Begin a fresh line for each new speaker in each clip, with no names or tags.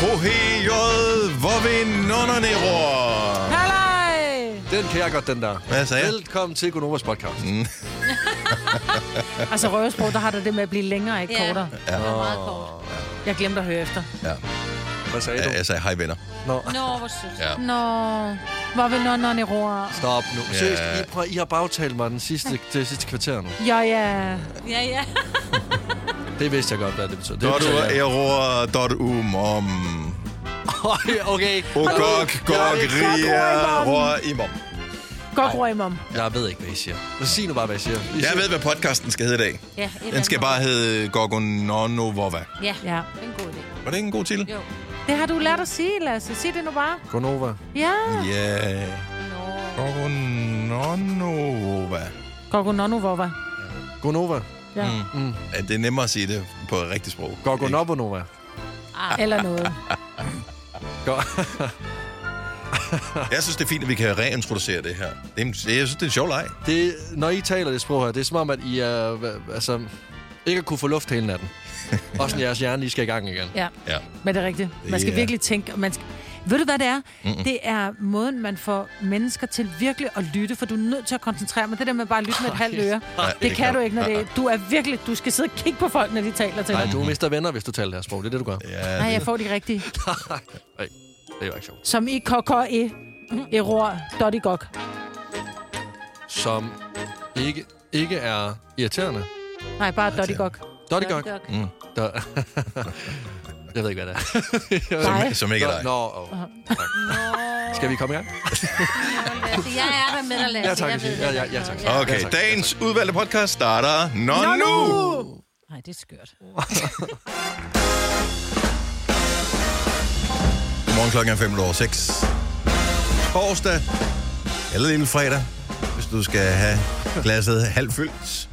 Hohejod, hvor vi nonnerne roer.
Halløj!
Den kan jeg godt, den der.
Hvad sagde jeg?
Velkommen til Gunovas podcast. Mm.
Altså røvesprog, der har du det med at blive længere, ikke
Ja.
kortere.
Det var meget kort.
Jeg glemte at høre efter.
Ja.
Hvad sagde du?
Jeg, jeg sagde altså, hej venner.
Nå,
Nå, hvor sødt.
Ja.
Nå, hvor vil nonnerne roer?
stop nu.
Ja.
Seriøst, I, prøv, I har bagtalt mig den sidste, det sidste kvarter nu.
Ja, ja.
Ja, ja.
Det vidste jeg godt, hvad det betyder. Det betyder, jeg.
Dorueror.umom.
Ej, okay.
Ogok, gok,
Jeg-
ria, ror, imom.
Godt ror i mom.
Jeg ved ikke, hvad I siger. Men sig nu bare, hvad I siger. I
Jeg
siger-
ved, hvad podcasten skal hedde i dag.
ja et eller
Den skal
andet.
bare hedde Gorgononovova.
Ja,
Ja.
det er en god idé.
Var det ikke en god titel?
Jo.
Det har du lært at sige, Lasse. Sig det nu bare.
Gunova.
Ja.
Ja. Yeah.
Nå.
Gorgononova.
Gorgononu, hvor var?
Gunova.
Ja.
Mm.
Mm.
Ja, det er nemmere at sige det på et rigtigt sprog.
Gorgonobonova.
Ah.
Eller noget.
Go-
Jeg synes, det er fint, at vi kan reintroducere det her. Det er, en- jeg synes, det er en sjov leg.
Det, når I taler det sprog her, det er som om, at I er, hva- altså, ikke at kunne få luft hele natten. Og sådan jeres hjerne lige skal i gang igen.
Ja.
Ja.
Men det er rigtigt. Man skal
er-
virkelig tænke. og Man skal... Ved du, hvad det er? Mm-mm. Det er måden, man får mennesker til virkelig at lytte, for du er nødt til at koncentrere dig. Det der med bare at lytte med et halvt øre, det,
det
det
kan
kan du
du.
ikke, når det er. Du er virkelig... Du skal sidde og kigge på folk, når de taler til
Nej,
dig.
du mister venner, hvis du taler det her sprog. Det er det, du gør.
Ja,
Nej, jeg får de rigtige.
Ej, det er jo ikke sjovt.
Som i kokker e. Error. Dotty gok.
Som ikke, ikke er irriterende.
Nej, bare dotty gok.
Dotty Gok.
Dok.
Mm.
Der... jeg ved ikke, hvad det er. Jeg ved
Nej.
som, som ikke er dig.
Nå, oh. Skal vi komme i gang?
Altså, jeg er der med dig, Lasse.
Ja, tak.
Jeg ved
Signe. Ja, ja, ja, tak.
Okay,
Ja, tak.
dagens udvalgte podcast starter Nå nu!
Nej, det er skørt.
Godmorgen klokken er 5 over 6. Torsdag, eller lille fredag, hvis du skal have glasset halvt fyldt.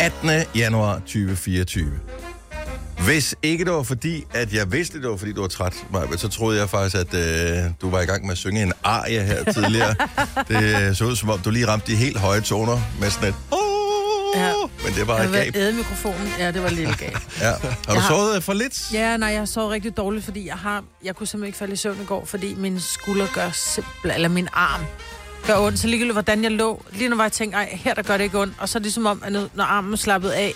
18. januar 2024. Hvis ikke det var fordi, at jeg vidste, det var fordi, du var træt, Maja, så troede jeg faktisk, at øh, du var i gang med at synge en arie her tidligere. det øh, så ud som om, du lige ramte de helt høje toner med sådan et...
Ja.
Uh! Men det var et
Jeg
gab.
vil æde mikrofonen. Ja, det var lidt lille gab.
Ja. Har du sovet øh, for lidt?
Ja, nej, jeg sov rigtig dårligt, fordi jeg har... Jeg kunne simpelthen ikke falde i søvn i går, fordi min skulder gør simpelthen... Eller min arm gør ondt. Så ligegyldigt, hvordan jeg lå. Lige nu var jeg tænkt, ej, her der gør det ikke ondt. Og så er det som om, at nu, når armen slappede af,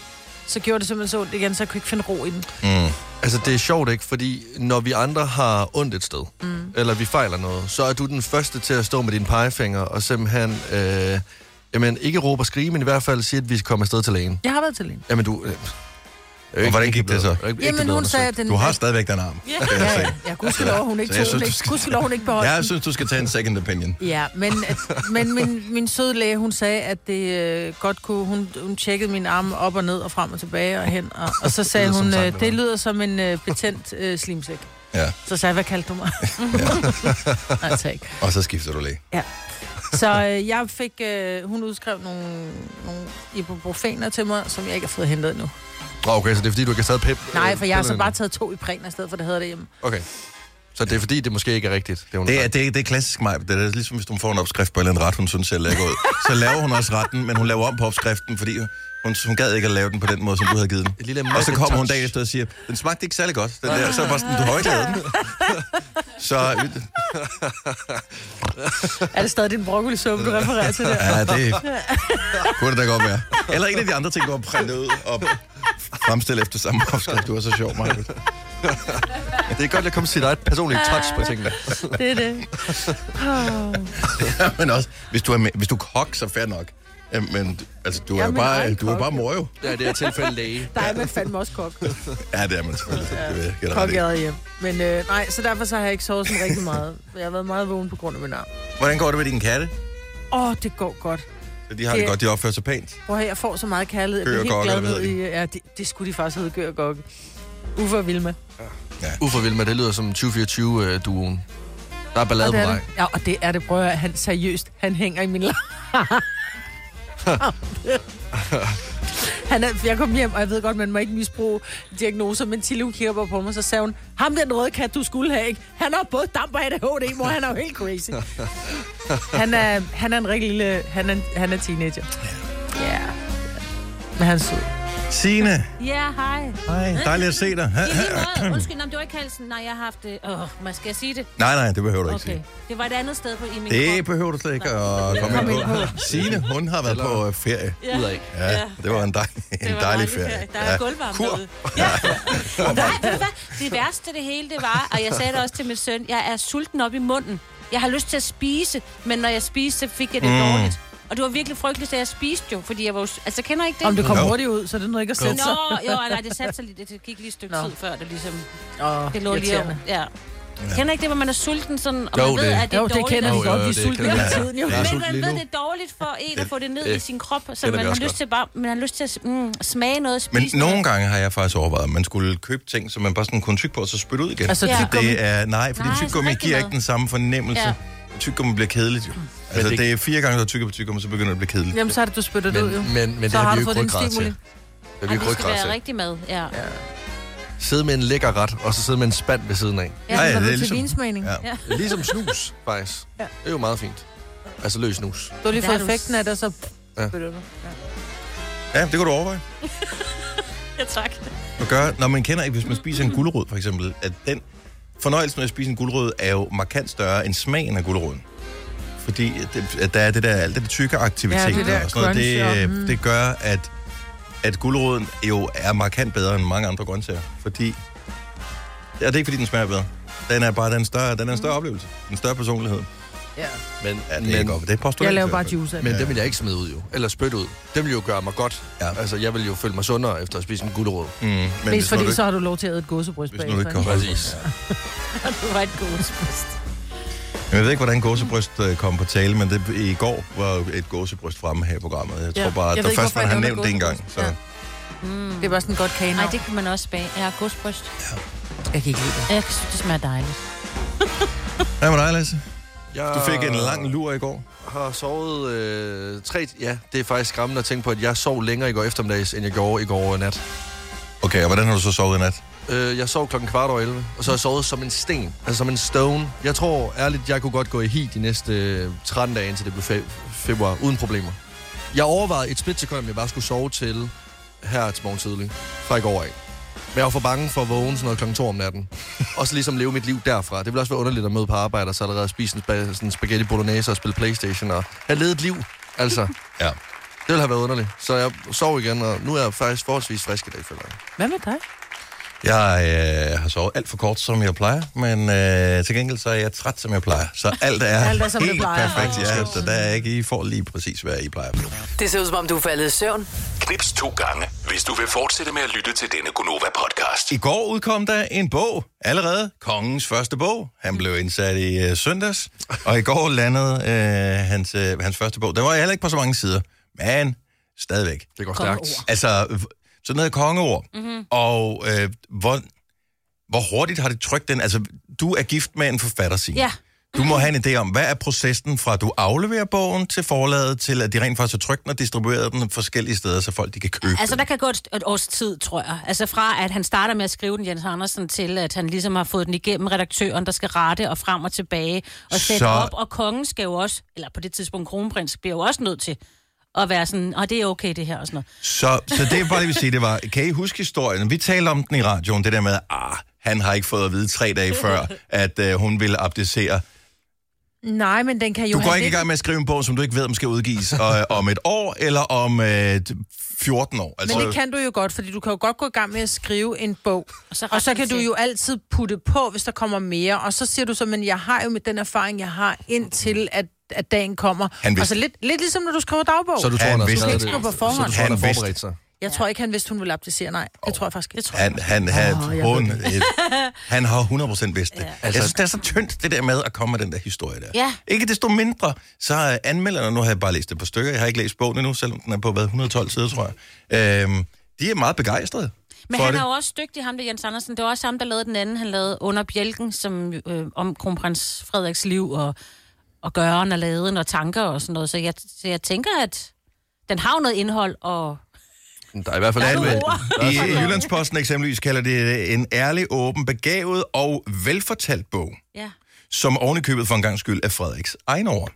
så gjorde det simpelthen så ondt igen, så jeg kunne ikke finde ro i den.
Mm.
Altså, det er sjovt, ikke? Fordi når vi andre har ondt et sted, mm. eller vi fejler noget, så er du den første til at stå med dine pegefinger og simpelthen, øh, jamen, ikke råbe og skrige, men i hvert fald sige, at vi skal komme afsted til lægen.
Jeg har været til lægen.
Jamen, du... Øh, øh,
hvordan gik det så?
Jamen, hun sagde, at den...
Du har stadigvæk den arm.
Ja, ja, ja. Jeg kunne lov, hun ikke
altså- Så
tog den.
jeg synes, du
ikke-
skal-
gudskelov, hun ikke beholdt den.
Jeg synes, du skal tage en second opinion.
Ja, men, men min, min søde læge, hun sagde, at det øh, godt kunne... Hun, hun tjekkede mine arme op og ned og frem og tilbage og hen. Og, og så sagde
lyder som
hun,
tankevækkende.
øh, det lyder som en øh, betændt øh, slimsæk.
Ja,
Så sagde jeg, hvad kaldte du mig? Nej, tak.
og så skifter du læge.
Ja. Så øh, jeg fik... Øh, hun udskrev nogle, nogle ibuprofener til mig, som jeg ikke har fået hentet endnu.
Oh, okay, så det er fordi, du ikke har taget pep?
Nej,
øh,
for jeg har så
pillerne.
bare taget to i præn, i stedet for, det havde det hjemme.
Okay. Så det er fordi, det måske ikke er rigtigt. Det, hun har
Det er,
sagt.
det, er- det er klassisk mig. Det er ligesom, hvis hun får en opskrift på en eller anden ret, hun synes ser lækker ud. Så laver hun også retten, men hun laver om på opskriften, fordi hun, hun gad ikke at lave den på den måde, som du havde givet den.
Et lille
Og så kommer hun
touch.
dagen efter og siger, den smagte ikke særlig godt. Den der, så var sådan, du højlagde den. Så øh,
Er det stadig din broccolisuppe, du refererer til der?
ja, det
Mm-hmm.
kunne det da godt være. Eller en af de andre ting, du har printet ud og fremstillet efter samme opskrift. Du er så sjov, Maja.
det er godt at komme sit eget personlige touch på tingene.
Det er det. Ah.
Ja, men også, hvis du er, med, hvis du er kok, så fair nok. Ja, Men altså, du, er, jo
men jeg er
bare,
en
du er
kok,
bare mor jo.
Ja, det er tilfælde læge.
Der er man fandme også kok.
Ja, det er man selvfølgelig. Ja. Det ved jeg, jeg
Kok jeg hjem. Men øh, nej, så derfor så har jeg ikke sovet sådan rigtig meget. Jeg har været meget vågen på grund af min arm.
Hvordan går det med dine katte?
Åh, oh, det går godt.
Så De har det
Det-
godt, de opfører sig pænt.
Prøv at høre, jeg får så meget kærlighed. Jeg
Gør
bliver
og
helt glad
Gokke,
ned
hvad
i...
hedder
Ja, det, det skulle de faktisk hedde, Gør og Gokke. Uffe og Vilma.
Uforvild med, det lyder som 2024-duen. Der er ballade
Og
på
det er
vej.
det. Ja, og det er det, prøv at høre. Han seriøst, han hænger i min lam. Han er, jeg kom hjem, og jeg ved godt, man må ikke misbruge diagnoser, men Tilly kigger bare på mig, så sagde hun, ham den røde kat, du skulle have, ikke? Han har både damp og ADHD, mor, han er jo helt crazy. han, er, han er en rigtig lille, han er, han er teenager. Ja. Yeah. Men han er sød.
Signe,
Ja, hej.
hej, dejligt at se dig.
I lige måde. Undskyld, nej, det var ikke halsen. Nej, jeg har haft... øh, Åh, oh, man skal jeg sige det?
Nej, nej, det behøver du ikke
Okay.
sige.
Det var et andet sted på i min
Det
krop.
behøver du slet ikke at komme
Kom
ind
ind
på. Signe, hun har været på øh, ferie.
Ja.
Ud af ikke.
Ja,
Ja.
det var en, dej, en
var
dejlig
dejligt
ferie.
Der er
Ja.
gulvvarme
Kur.
derude. Ja. Nej, ved du hvad? Det værste af det hele, det var, og jeg sagde det også til min søn, jeg er sulten op i munden. Jeg har lyst til at spise, men når jeg spiste, så fik jeg det mm. dårligt. Og det var virkelig frygteligt, at jeg spiste jo, fordi jeg var... jo s- Altså, kender I ikke det?
Om det kommer
Jo.
hurtigt ud, så er det noget ikke at sætte sig.
Nå, jo, nej, det satte sig lidt. Det gik lige et stykke
Nå.
tid før, det ligesom...
Åh,
Det lå lige
irriterende.
og, ja. Kender I ikke det, hvor man er sulten sådan, og
Jo,
man ved,
det-
at det er
Jo, det
dårligt?
kender vi
Jo, jo,
godt. Vi
det
er sultne
kender vi.
hele tiden, jo.
Ja.
Ja.
Jeg er
Men
sulten
man
lige
ved,
nu.
det er dårligt for en at få det ned
Det
i sin krop, så
kender
man
vi
har
også
lyst
godt.
til bare, man har lyst til at mm, smage noget og spise
Men
noget.
nogle gange har jeg faktisk overvejet, at man skulle købe ting, som man bare sådan kunne tykke på, og så spytte ud igen.
Altså
Ja.
tyggegummi.
Det er, nej, fordi
Nej,
tyggegummi
så rigtig
giver
mad.
ikke den samme fornemmelse. Ja.
Ja.
Tyggegummi bliver kedeligt jo. Altså, det...
Mm. det-
er fire gange, du har tykket på tyggegummi, så begynder det at blive kedeligt.
Jamen, så er det, du spytter det ud, jo.
Men, men, men
Så
det
har
har vi
du
jo
fået
ikke
din
ryggrad
stimuli.
til. Det har vi jo
Ej,
ikke
det skal
ryggrad
være
til.
rigtig mad, ja. ja.
Sidde med en lækker ret, og så sidde med en spand ved siden af.
Ja, ja,
Ja,
det er
det er
ligesom-
til vinsmagning.
Ja.
Ligesom snus, faktisk.
Ja.
Det er jo meget fint. Altså løs snus.
Du har lige
Der
fået
er du
effekten af det, og så
Ja.
spytter du. Ja.
Ja, det kan du overveje.
ja tak.
at gøre, når man kender ikke, hvis man spiser en gulerod for eksempel, at den fornøjelse med at spise en gulerod er jo markant større end smagen af guleroden. Fordi det, at der er det der, alt det der tykke aktivitet
Ja, det der Mm.
og sådan noget, det,
crunch og-
øh, det gør, at, at guleroden jo er markant bedre end mange andre grøntsager. Fordi, ja, det er ikke fordi, den smager bedre. Den er bare den større, den er en
Mm.
større oplevelse. En større personlighed.
Men,
Ja, det er
men,
godt. Det er postulat.
Jeg
i
laver
hvert
bare
fald.
juice af det.
men det vil jeg ikke smide ud, jo. Eller spytte ud. Det vil jo gøre mig godt.
Ja.
Ja. Altså, jeg vil jo føle mig sundere efter at spise en gulerod.
Mm, men
Mest
hvis nu du
fordi,
ikke,
så har du lov til at æde et gåsebryst
hvis nu du ikke kan
bagefter.
holde
Præcis.
Du var et gåsebryst.
Men Jeg ved ikke, hvordan gåsebryst øh, kom på tale, men det, i går var et gåsebryst fremme her i programmet. Jeg tror
Ja.
ja. bare,
Jeg
at
ved
der
ikke,
først
hvorfor
man
jeg
har nævnt
nævner
det engang. Så.
gåsebryst. Ja. Det er bare sådan en godt kage.
Nej, Mm. det kan man også bage. Jeg har godsbryst.
Jeg kan ikke lide det.
Jeg synes, det smager dejligt.
Hvad med dig, Lasse?
Jeg
Du fik en lang lur i går.
har sovet øh, tre... Ja, det er faktisk skræmmende at tænke på, at jeg sov længere i går eftermiddags, end jeg gjorde i går nat.
Okay, og hvordan har du så sovet i nat?
Øh, jeg sov klokken kvart over 11, og så har jeg sovet som en sten, altså som en stone. Jeg tror ærligt, jeg kunne godt gå i hi de næste øh, 13 dage, indtil det blev fe- februar, uden problemer. Jeg overvejede et splitsekund, om jeg bare skulle sove til her til morgen tidlig, fra i går af. Men jeg var for bange for at vågne sådan noget klokken 2 om natten. Og så ligesom leve mit liv derfra. Det ville også være underligt at møde på arbejde, og så allerede spise en spa- sådan spaghetti bolognese og spille Playstation. Og have levet et liv, altså.
Ja.
Det ville have været underligt. Så jeg sov igen, og nu er jeg faktisk forholdsvis frisk i dag, føler jeg.
Hvad med dig?
Jeg øh, har sovet alt for kort, som jeg plejer, men øh, til gengæld så er jeg træt, som jeg plejer. Så alt er,
Alt er, som det
helt
plejer.
perfekt. Ja, så der er ikke, I får lige præcis, hvad I plejer.
Det ser ud som om, du er faldet i søvn.
Knips to gange, hvis du vil fortsætte med at lytte til denne Gonova-podcast.
I går udkom der en bog, allerede kongens første bog. Han blev indsat i øh, søndags, og i går landede øh, hans, øh, hans første bog. Den var heller ikke på så mange sider, men stadigvæk.
Det går
Kongeord.
stærkt.
Altså, v- sådan noget kongeord. Mm-hmm. Og øh, hvor, hvor hurtigt har det trykt den? Altså, du er gift med en forfatter, Signe.
Ja.
Du må have en idé om, hvad er processen fra, at du afleverer bogen til forlaget, til at de rent faktisk har trykt den og distribueret den forskellige steder, så folk de kan købe
Altså,
den.
der kan gå et, et års tid, tror jeg. Altså, fra at han starter med at skrive den, Jens Andersen, til at han ligesom har fået den igennem redaktøren, der skal rette og frem og tilbage og sætte
Så-
så... op. Og kongen skal jo også, eller på det tidspunkt kronprins, bliver jo også nødt til at være sådan, og det er okay det her og sådan noget.
Så, så det, jeg bare lige vil sige, det var, kan I huske historien? Vi talte om den i radioen, det der med, ah, han har ikke fået at vide tre dage før, at øh, hun ville abdicere.
Nej, men den kan jo
Du går
have
ikke i
lidt-
gang med at skrive en bog, som du ikke ved, om skal udgives øh, om et år eller om øh, 14 år. Altså,
Men det kan du jo godt, fordi du kan jo godt gå i gang med at skrive en bog. Og så, og så
retter
kan
den
du
til.
jo altid putte på, hvis der kommer mere. Og så siger du så, men jeg har jo med den erfaring, jeg har indtil, at, at dagen kommer.
Han vidste.
Og så lidt, lidt ligesom, når du skriver dagbog.
Så du tror,
Han
han, har
vidste
skrevet
det.
Du kan ikke
det.
skrive på forhånd.
Så du tror,
Han
han har
vidste.
forberedt sig.
Jeg tror ikke, han vidste, hun ville abdicere. Nej, det tror jeg faktisk ikke.
Han, han, han,
Åh,
oh,
jeg
hun,
ved
et, han har 100% vidst det. Ja. Altså, jeg
Altså-
synes, det er så tyndt, det der med at komme med den der historie der.
Ja.
Ikke desto mindre, så er anmelderne, nu har jeg bare læst et par stykker, jeg har ikke læst bogen endnu, selvom den er på hvad, 112 sider, tror jeg. Øhm, de er meget begejstrede
Men
for
han
det.
er jo også dygtig, ham der Jens Andersen. Det var også ham, der lavede den anden. Han lavede Under Bjælken, som øh, om kronprins Frederiks liv og, og gøren og laden og tanker og sådan noget. Så jeg, så jeg tænker, at den har jo noget indhold, og
Der er i hvert fald
Der er
anmeldt.
nogle
Der
I
er sådan-
Jyllandsposten eksempelvis kalder det øh, en ærlig, åben, begavet og velfortalt bog.
ja.
som ovenikøbet for en gang skyld er Frederiks egen ord.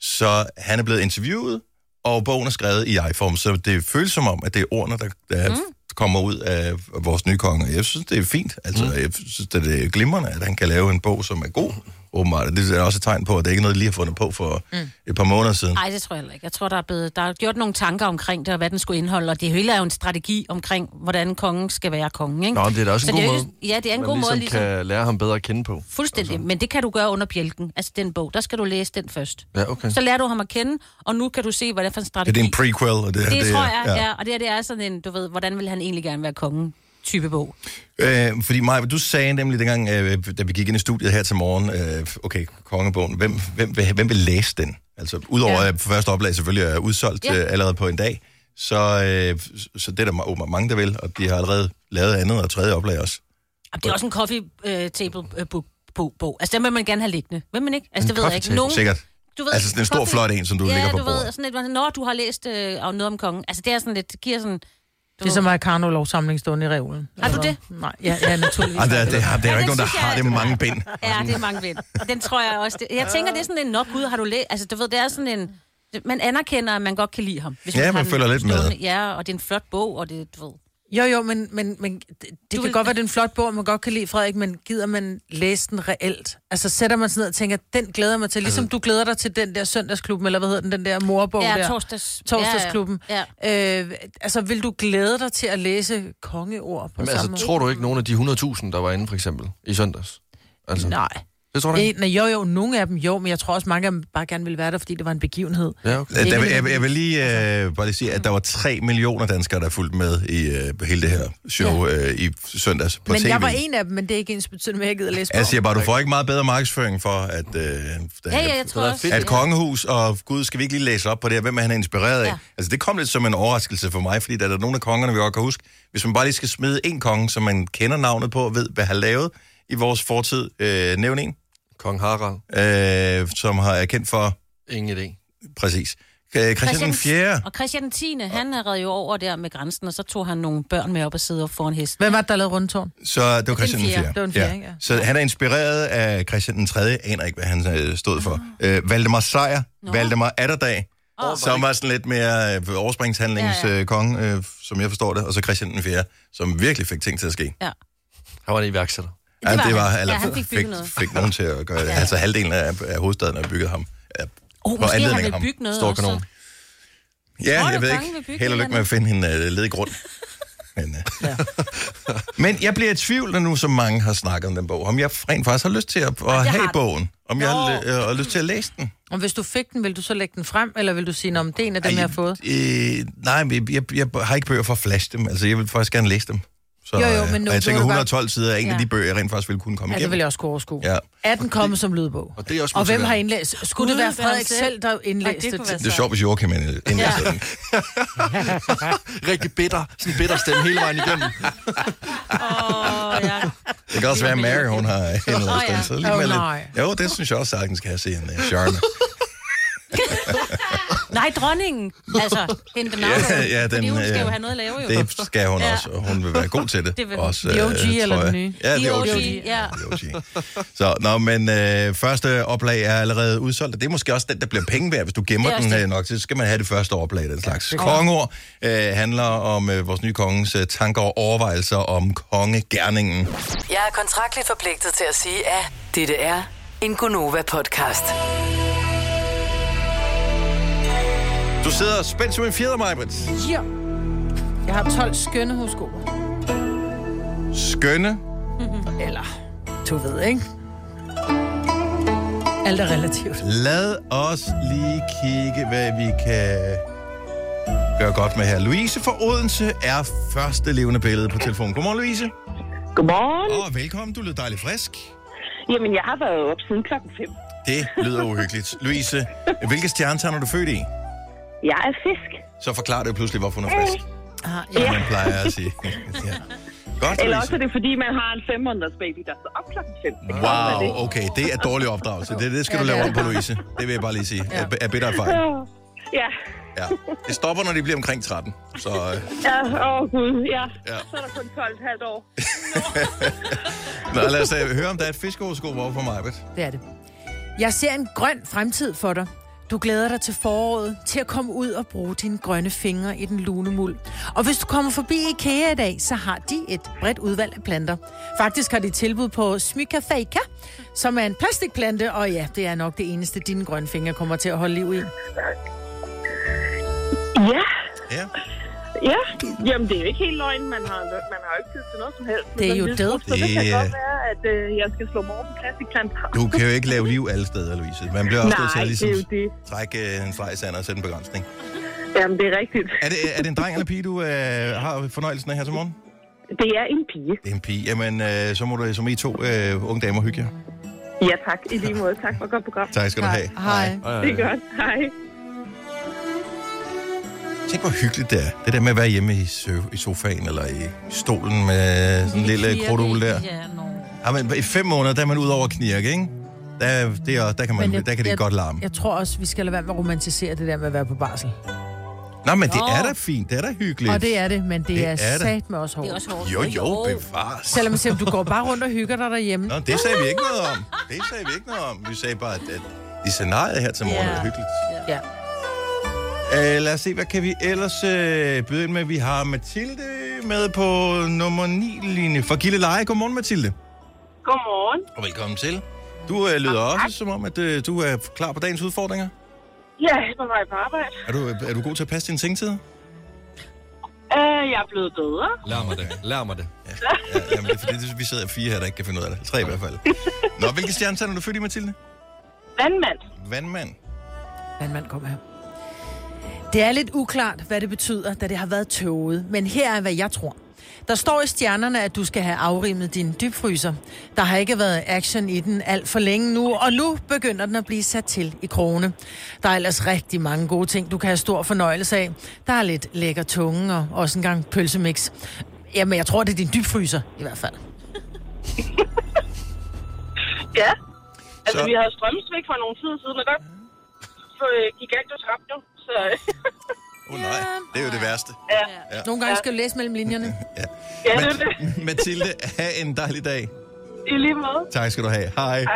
Så han er blevet interviewet, og bogen er skrevet i jeg-form, så det føles som om, at det er ordene, der, der mm. kommer ud af vores nye konge. Jeg synes, det er fint. Altså, mm. jeg synes, det er glimrende, at han kan lave en bog, som er god, åbenbart. Det er også et tegn på, at det ikke er noget, de lige har fundet på for mm. et par måneder siden.
Nej, det tror jeg heller ikke. Jeg tror, der er, blevet, der er gjort nogle tanker omkring det, og hvad den skulle indeholde. Og det hele er jo en strategi omkring, hvordan kongen skal være konge. Ikke?
Nå, men det er da også
Så
en
det
god
er jo
måde,
ikke- ja, det er en
man
god
ligesom
måde, ligesom-
kan Altså. lære ham bedre at kende på.
Fuldstændig. Men det kan du gøre under bjælken. Altså den bog. Der skal du læse den først.
Ja, okay.
Så lærer du ham at kende, og nu kan du se, hvad det er for en strategi.
Det er en prequel, og det,
det, det tror jeg,
ja.
ja. Og det, her, det er sådan en, du ved, hvordan vil han egentlig gerne være kongen type bog.
Øh, fordi Maja, du sagde nemlig dengang, øh, da vi gik ind i studiet her til morgen, øh, okay, kongebogen, hvem, hvem, vil, hvem vil læse den? Altså, udover
Ja.
at første oplag selvfølgelig er udsolgt ja.
Ja.
øh, allerede på en dag, så, øh, så det er der ma- åbenbart mange, der vil, og de har allerede lavet andet og tredje oplag også.
Og det er også en coffee øh, table øh, book, bog, bog. Altså, den vil man gerne have liggende. Vil man ikke? Altså, det ved jeg ikke.
Coffee table, Sikkert.
Du ved,
Altså, sådan en stor, flot en, som du
ja,
lægger på
du ved,
bordet.
sådan lidt, når du har læst øh, om noget om kongen. Altså, det er sådan lidt, det giver sådan...
Det er som Americano lovsamling stående i reolen.
Har du det?
Nej, ja, ja naturligvis.
Ej, der, der, der, der er jo
den
ikke nogen, der
synes jeg
har
er-
det mange bind.
Ja, det er mange vind. Den tror jeg også. Det, jeg tænker, det er sådan en, nok gud, har du læst... Altså, du ved, det er sådan en... Man anerkender, at man godt kan lide ham. Hvis
Ja,
har
man
den
følger lidt med.
stående. Ja, og det er en flot bog, og det, du ved...
Jo, jo, men, men, men det, det kan
vil-
godt være, det er en flot bog, og man godt kan lide Frederik, men gider man læse den reelt? Altså sætter man sig ned og tænker, den glæder jeg mig til, ligesom
Altså-
du glæder dig til den der søndagsklubben, eller hvad hedder den, den der morbog
Ja,
der?
torsdags...
Torsdagsklubben.
Ja, ja.
Øh, altså, vil du glæde dig til at læse kongeord på
Men
samme
altså, tror du ikke, nogen af de 100.000, der var inde, for eksempel, i søndags? Altså,
Nej.
Det tror du ikke?
En, Øh, nej, jo, jo, nogle af dem jo, men jeg tror også, mange af dem bare gerne ville være der, fordi det var en begivenhed.
Ja, okay.
Øh, Der, vil- jeg, jeg vil lige
Altså-
øh, bare lige sige, at der var 3 millioner danskere, der fulgte med i øh, hele det her show øh, i søndags på
men
tv.
jeg var en af dem, men det er ikke ens betydende, med, at jeg gider læse
Jeg
bogen.
siger bare, du får ikke meget bedre markedsføring for, at, øh,
Ja, ja, jeg tror
det er
også...
fedt.
at kongehus og gud, skal vi ikke lige læse op på det her, hvem er han inspireret af? Ja.
Ja.
Altså, det kom lidt som en overraskelse for mig, fordi der er nogle af kongerne, vi godt kan huske. Hvis man bare lige skal smide en konge, som man kender navnet på og ved, hvad han lavede i vores fortid, øh, nævn en,
Kong Harald.
øh, som har er kendt for,
Ingen idé.
præcis, øh, Christian den 4.
Og Christian den 10. han er reddet jo over der med grænsen, og så tog han nogle børn med op og sidde op foran hesten.
Hvem var det, der lavede rundtårn?
Så det var Christian den
fjerde.
4.
Det var den fjerde, ikke? Ja.
Så han er inspireret af Christian den 3. aner ikke, hvad han øh, stod for.
Ah.
Øh, Valdemar Sejr, Valdemar Atterdag, oh, som var sådan lidt mere øh, overspringshandlingskonge,
Ja,
ja, ja. øh, konge, øh, som jeg forstår det, og så Christian den 4., som virkelig fik ting til at ske.
Ja.
Han var en iværksætter.
Ja, det var,
han.
eller,
Ja, han fik
fik,
bygget noget.
fik nogen til at gøre det. Altså halvdelen af, af hovedstaden er bygget af ham. Ja,
Oh,
på
måske
anledning
han
af
vil
ham.
bygge noget
Stor
også.
kanon.
Ja,
Tror
jeg
du,
ved
kongen vil
ikke.
bygge
Held
et
og lykke med
eller
at finde en øh, ledig grund. Men, øh. Men jeg bliver i tvivl, når nu så mange har snakket om den bog, om jeg rent faktisk har lyst til at, at have
har du.
bogen. Om jeg har,
Nå.
øh, har lyst til at læse den.
Og hvis du fik den, vil du så lægge den frem, eller vil du sige, om det er en af dem, jeg har fået?
Øh, nej, men jeg, jeg, jeg har ikke bøger for at flash dem. Altså, jeg vil faktisk gerne læse dem. Så,
Jo, jo,
øh,
men nu-
og jeg
nu
tænker,
er det bare-
112 sider er en ja. af
Ja.
de bøger, jeg rent faktisk ville kunne komme
Ja, det vil
igennem.
jeg også kunne overskue.
Ja.
Er den kommet som lydbog?
Og det er også
Og hvem
motiverende.
har indlæst? Skulle det være
Gud, hvad
Frederik
han selv-
selv, der indlæste
Ej, det
det?
kunne være
Det er sjovt, hvis Joachim indlæser ja. den.
Rigtig bitter. Sådan en bitter stemme hele vejen igennem.
Åh, ja.
Det kan også være, at Mary, hun har indlæst
Åh, ja.
den. Så lige med
Åh, nej.
lidt. Jo, det synes jeg også sagtens kan have se en uh, charme.
Nej, dronningen. Altså, hende den
Ja,
afgørende,
ja, den,
Fordi hun skal jo
øh,
have noget at lave, jo.
Det skal hun ja.
Ja.
også, og hun vil være god til det.
Det vil hun.
også,
The
øh,
OG
tror
eller
jeg.
den nye?
Ja, det er
The
OG.
OG, ja.
The OG. Så, nå, men øh, første oplag er allerede udsolgt, og det er måske også den, der bliver penge værd, hvis du
Det
gemmer
er
den
også
øh, nok, så skal man have det første oplag, den slags. Kongeord øh, handler om øh, vores nye kongens øh, tanker og overvejelser om kongegærningen.
Jeg er kontraktligt forpligtet til at sige, at dette er en Gunova-podcast.
Du sidder spændt som en fjeder, Majbrit.
Ja. Jeg har 12 skønne horoskoper.
Skønne.
Eller, du ved, ikke? Alt er relativt.
Lad os lige kigge, hvad vi kan gøre godt med her. Louise fra Odense er første levende billede på telefonen. Godmorgen, Louise.
Godmorgen.
Og velkommen, du lyder dejlig frisk.
Jamen, jeg har været op siden klokken 5.
Det lyder uhyggeligt. Louise, hvilke stjernetegn er du født i?
Jeg er fisk.
Så forklarer det jo pludselig, hvorfor hun er frisk.
Ah,
Som
ja.
man plejer at sige. ja. Godt,
Eller også er
Louise.
det, fordi man har en 500 baby, der står op klokken 5. Det kan også være det.
Wow, okay, det er dårlig opdragelse. Det, det skal
Ja,
du lave
det er
om på,
det.
Louise. Det vil jeg bare lige sige. Er, er bitter erfaring.
Åh, Ja.
Ja. Det stopper, når de bliver omkring 13. Så øh,
Ja, åh gud, ja.
Ja.
ja. Så er der kun 12 halvt år.
nå, lad os øh, høre, om der er et fiskehoroskop over for mig.
Det er det. Jeg ser en grøn fremtid for dig. Du glæder dig til foråret, til at komme ud og bruge dine grønne fingre i den lune muld. Og hvis du kommer forbi IKEA i dag, så har de et bredt udvalg af planter. Faktisk har de tilbud på Smyka Faka, som er en plastikplante, og ja, det er nok det eneste, dine grønne fingre kommer til at holde liv i.
Ja,
Ja.
ja. Jamen, det er jo ikke helt løgn. Man har, man har jo ikke tid til noget som helst.
Det er
Men
jo
hvis-
død.
Så det kan
Det er-
godt være, at øh, jeg skal slå mig over på plastikplanter.
Du kan jo ikke lave liv alle steder, Louise. Man bliver også nødt til
Nej,
at ligesom
det er jo det.
trække øh, en streg i sandet og sætte en begrænsning.
Jamen, det er rigtigt.
Er det, er det en dreng eller pige, du øh, har fornøjelsen af her til morgen?
Det er en pige.
Det er en pige. Jamen, øh, så må du som I to øh, unge damer hygge jer.
Ja, tak. I lige måde. Tak for et godt program.
Tak skal du have.
Hej.
Det er godt. Hej.
Tænk, hvor hyggeligt det er. Det der med at være hjemme i, so- i sofaen eller i stolen med sådan en lille krudul der.
Ja, no.
Ja, men i fem måneder, der er man ud over at knirke, ikke? Der, det er, der, kan man,
Men jeg-
der kan det
jeg-
godt larme.
Jeg tror også, vi skal lade være med at romantisere det der med at være på barsel.
Nej, men det
Nå.
er da fint. Det er da hyggeligt.
Og det er det, men det,
Det
det er,
er det.
sat med også
Det er
hårdt.
også hårdt.
Jo, jo, bevares.
Selvom selvom du går bare rundt og hygger dig derhjemme.
Nå, det sagde vi ikke noget om. Det sagde vi ikke noget om. Vi sagde bare, at, at i scenariet her til morgen
Ja.
er hyggeligt.
Ja.
Uh, lad os se, hvad kan vi ellers uh, byde ind med? Vi har Mathilde med på nummer 9-linje fra Gille Leje. Godmorgen, Mathilde.
Godmorgen.
Og velkommen til. Du uh, lyder også som om, at uh, du er klar på dagens udfordringer.
Ja, jeg er på vej på arbejde.
Er du, øh, er du god til at passe din sengtid?
Øh, jeg er blevet bedre.
Lær mig det. Lær mig det.
Ja, jamen, det er fordi, det- vi sidder fire her, der ikke kan finde ud af det. Tre i hvert fald. Nå, hvilke stjernetegn er du født i, Mathilde?
Vandmand.
Vandmand.
Men man kommer her. Det er lidt uklart, hvad det betyder, da det har været tåget, men her er, hvad jeg tror. Der står i stjernerne, at du skal have afrimet din dybfryser. Der har ikke været action i den alt for længe nu, og nu begynder den at blive sat til i krone. Der er ellers rigtig mange gode ting, du kan have stor fornøjelse af. Der er lidt lækker tunge og også en gang pølsemix. Jamen, jeg tror, det er din dybfryser i hvert fald.
Ja. Altså,
Så-
vi havde strømsvigt for nogle tid siden, og der øh, gik alt jo tabt nu. Så øh,
Åh oh, nej, det er jo det værste.
Nogle gange skal du læse mellem linjerne.
ja, det er det.
Mat- Mathilde, have en dejlig dag.
I lige måde.
Tak skal du have. Hej.
Hej.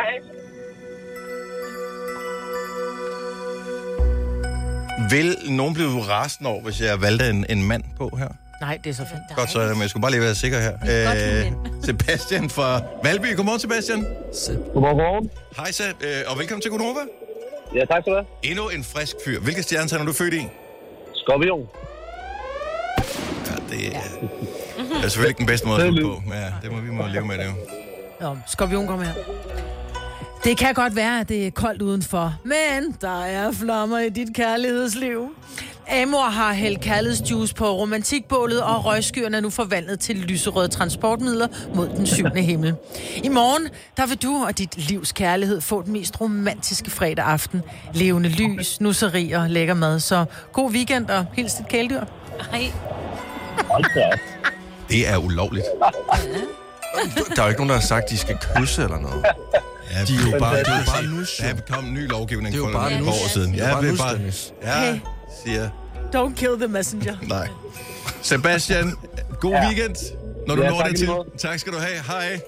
Vil nogen blive rasende over, hvis jeg valgte en, en mand på her?
Nej, det er så fint.
Godt, så men jeg skulle bare lige være sikker her. Øh,
Godt,
Sebastian fra Valby. Godmorgen, Sebastian.
Godmorgen.
Hej, Sat, øh, og velkommen til Gunova.
Ja, tak skal du have.
Endnu en frisk fyr. Hvilke stjernetegn er du født i?
Skorpion.
Ja, det er, det er selvfølgelig ikke den bedste måde at slutte på. Ja, det må vi må leve med det jo.
Nå, skorpion kommer her. Det kan godt være, at det er koldt udenfor, men der er flammer i dit kærlighedsliv. Amor har hældt kærlighedsjuice på romantikbålet, og røgskyerne er nu forvandlet til lyserøde transportmidler mod den syvende himmel. I morgen, der vil du og dit livs kærlighed få den mest romantiske fredag aften. Levende lys, nusseri og lækker mad, så god weekend og hils dit kæledyr.
Ej,
Hold da op.
Det er ulovligt.
Der er jo ikke nogen, der har sagt, at de skal kysse eller noget.
Ja,
De er jo bare- de er jo bare nus,
Der er kommet ny lovgivning
Det er jo
for
bare
nogle
nus.
år siden.
Det er bare
det er
nus, Dennis.
Ja,
Hey.
siger
Don't kill the messenger.
nej. Sebastian, god weekend, når du
Ja,
når
tak
det
i
til.
lige måde.
Tak skal du have. Hej.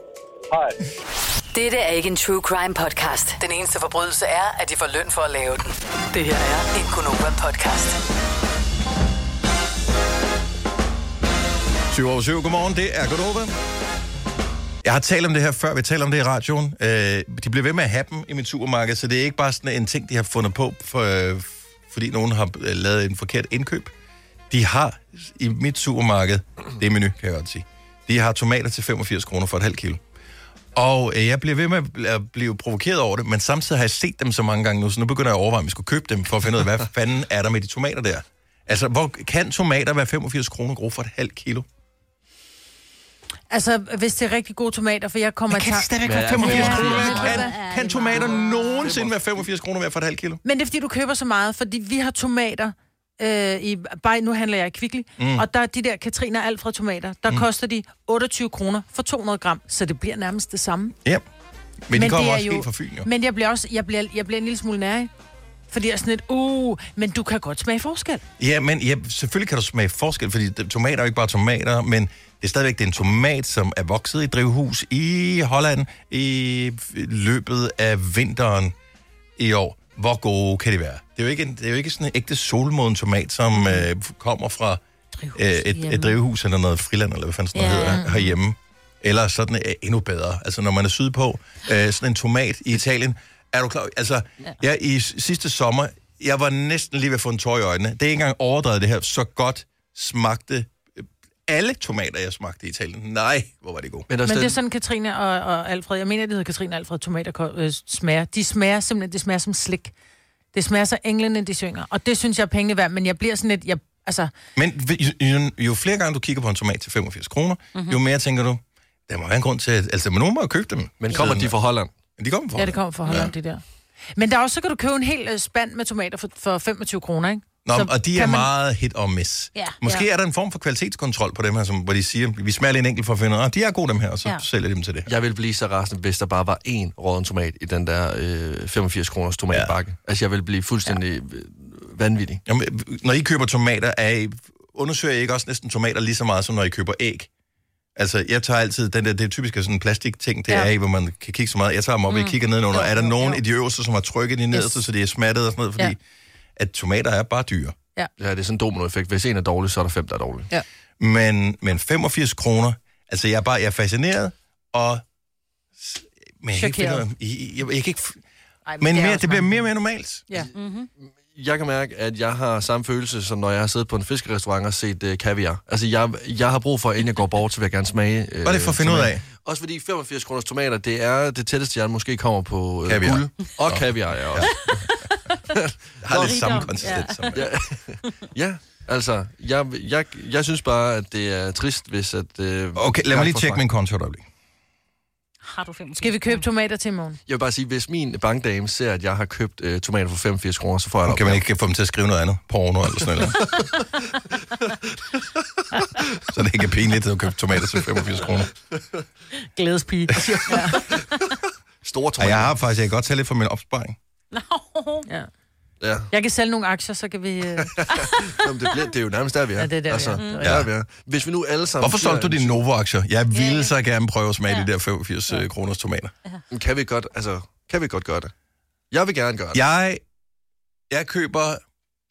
Hej.
Dette er ikke en true crime podcast. Den eneste forbrydelse er, at de får løn for at lave den. Det her er en Gunova podcast.
20 over 7. Godmorgen, det er Godova. Jeg har talt om det her før, vi talte om det i radioen. Øh, de bliver ved med at have dem i mit supermarked, så det er ikke bare sådan en ting, de har fundet på, for, øh, fordi nogen har øh, lavet en forkert indkøb. De har i mit supermarked, det er menu, kan jeg godt sige, de har tomater til 85 kroner for et halvt kilo. Og øh, jeg bliver ved med at bl- at blive provokeret over det, men samtidig har jeg set dem så mange gange nu, så nu begynder jeg at overveje, om jeg skulle købe dem, for at finde ud af, hvad fanden er der med de tomater der? Altså, hvor kan tomater være 85 kroner gode for et halvt kilo?
Altså, hvis det er rigtig gode tomater, for jeg kommer i tanke-
stadigvæk
være 85
kroner værd?
Kan,
Kan-
kan tomater nogensinde være 85 kroner værd for et halvt kilo?
Men det er, fordi du køber så meget, fordi vi har tomater øh, i... Bare, nu handler jeg i Kvickly, mm. og der er de der Katrine og Alfred tomater, der mm. koster de 28 kroner for 200 gram, så det bliver nærmest det samme.
Ja. Men, men de
det
kommer
er
også jo... helt fra Fyn, jo.
Men jeg bliver også jeg bliver, jeg bliver en lille smule nærig. Fordi jeg er sådan lidt, uh, men du kan godt smage forskel.
Ja, men ja, selvfølgelig kan du smage forskel, fordi de- tomater er jo ikke bare tomater, men det er stadigvæk det er en tomat, som er vokset i et drivhus i Holland i løbet af vinteren i år, hvor gode kan de være? Det er jo ikke, en, det er jo ikke sådan en ægte solmoden tomat, som øh, kommer fra øh, et, et drivhus eller noget friland, eller hvad fanden sådan noget
Ja.
hedder, herhjemme. Eller sådan er endnu bedre. Altså, når man er sydpå, øh, sådan en tomat i Italien. Er du klar? Altså, jeg, i s- sidste sommer, jeg var næsten lige ved at få en tår i øjnene. Det er ikke engang overdrevet det her. Så godt smagte øh, alle tomater, jeg smagte i Italien. Nej, hvor var det gode.
Men, der
Men det er
stadig-
sådan Katrine og, og Alfred. Jeg mener, det hedder Katrine og Alfred tomater øh, smager. De smager simpelthen, det smager som slik. Det smager så englene, de synger. Og det synes jeg er pengene værd, men jeg bliver sådan lidt... Jeg, altså,
Men vi- jo, jo flere gange du kigger på en tomat til 85 kroner,
Mhm.
mm-hmm. jo mere tænker du, der må være en grund til, at altså, men nogen må jo købe dem.
men kommer de fra Holland?
Men de kommer fra
ja, det kommer fra Holland, ja. det der. Men der er også, så kan du købe en hel øh, spand med tomater for, for 25 kroner, ikke?
Nå,
så
og de er
kan man-
man... meget hit og miss.
Ja.
Måske er der en form for kvalitetskontrol på dem her, som, hvor de siger, vi smager lige en enkelt for at finde, ud af, "Ah, de er gode dem her, og så ja.
Ja.
sælger de dem til det.
Jeg ville blive så rasende, hvis der bare var én råden tomat i den der øh, 85 kroners tomatbakke. Ja. Altså, jeg ville blive fuldstændig ja. vanvittig.
Jamen, når I køber tomater, er I, undersøger I ikke også næsten tomater lige så meget, som når I køber æg? Altså, jeg tager altid den der, det er typisk sådan en plastikting, det ja.
Ja.
er i, hvor man kan kigge så meget. Jeg tager dem op, mm. jeg kigger nedenunder. Er der nogen i de øverste, som har trykket de nederste, yes. så de er smattet og sådan noget? Fordi ja.
Ja.
at tomater er bare dyre.
Ja, det er sådan en dominoeffekt. Hvis en er dårlig, så er der fem, der er dårlige.
Men, men 85 kroner, altså jeg er bare jeg er fascineret, og... s- Men jeg, kan ikke finde ud af- I- I- jeg, jeg kan ikke, f-
Ej,
men
er
mere,
også
det bliver
mange.
mere og mere normalt.
Ja.
Jeg kan mærke, at jeg har samme følelse, som når jeg har siddet på en fiskerestaurant og set øh, kaviar. Altså, jeg, jeg har brug for, inden jeg går bort, så vil jeg gerne smage... Øh,
Bare det for at finde ud af.
Også fordi 85 kroners tomater, det er det tætteste, jeg måske kommer på øh,
Kaviar.
kaviar. guld. Og kaviar, ja også.
Det har lidt samme
rigdom.
konsistens ja. som
Ja, ja altså, jeg, jeg, jeg synes bare, at det er trist, hvis at... Øh,
Okay, lad mig
jeg
lige
får
tjekke
smagt.
min konto et øjeblik.
Har du 85
Skal vi købe tomater til i morgen?
Jeg vil bare sige, hvis min bankdame ser, at jeg har købt øh, tomater for 85 kroner, så får jeg
Nu
det
kan man
op.
ikke få dem til at skrive noget andet. Porno eller sådan noget. så det ikke er pinligt at købe tomater til 85 kroner.
Glædespige.
Store
Og jeg
tomater.
har faktisk, jeg kan godt tage lidt for min opsparing.
ja.
Ja.
Jeg kan sælge nogle aktier, så kan vi... Øh...
Jamen, det, bliver, det er jo nærmest der, vi er. Altså,
Ja, det er der, vi er. Mm.
ja. der, vi er. Hvis vi nu alle sammen...
Hvorfor
giver
solgte du
en
dine Novo-aktier? Jeg ville så gerne prøve at smage de der 85 øh, kroners tomater.
tur- Kan vi godt, altså, kan vi godt gøre det? Jeg vil gerne gøre det.
Jeg, jeg køber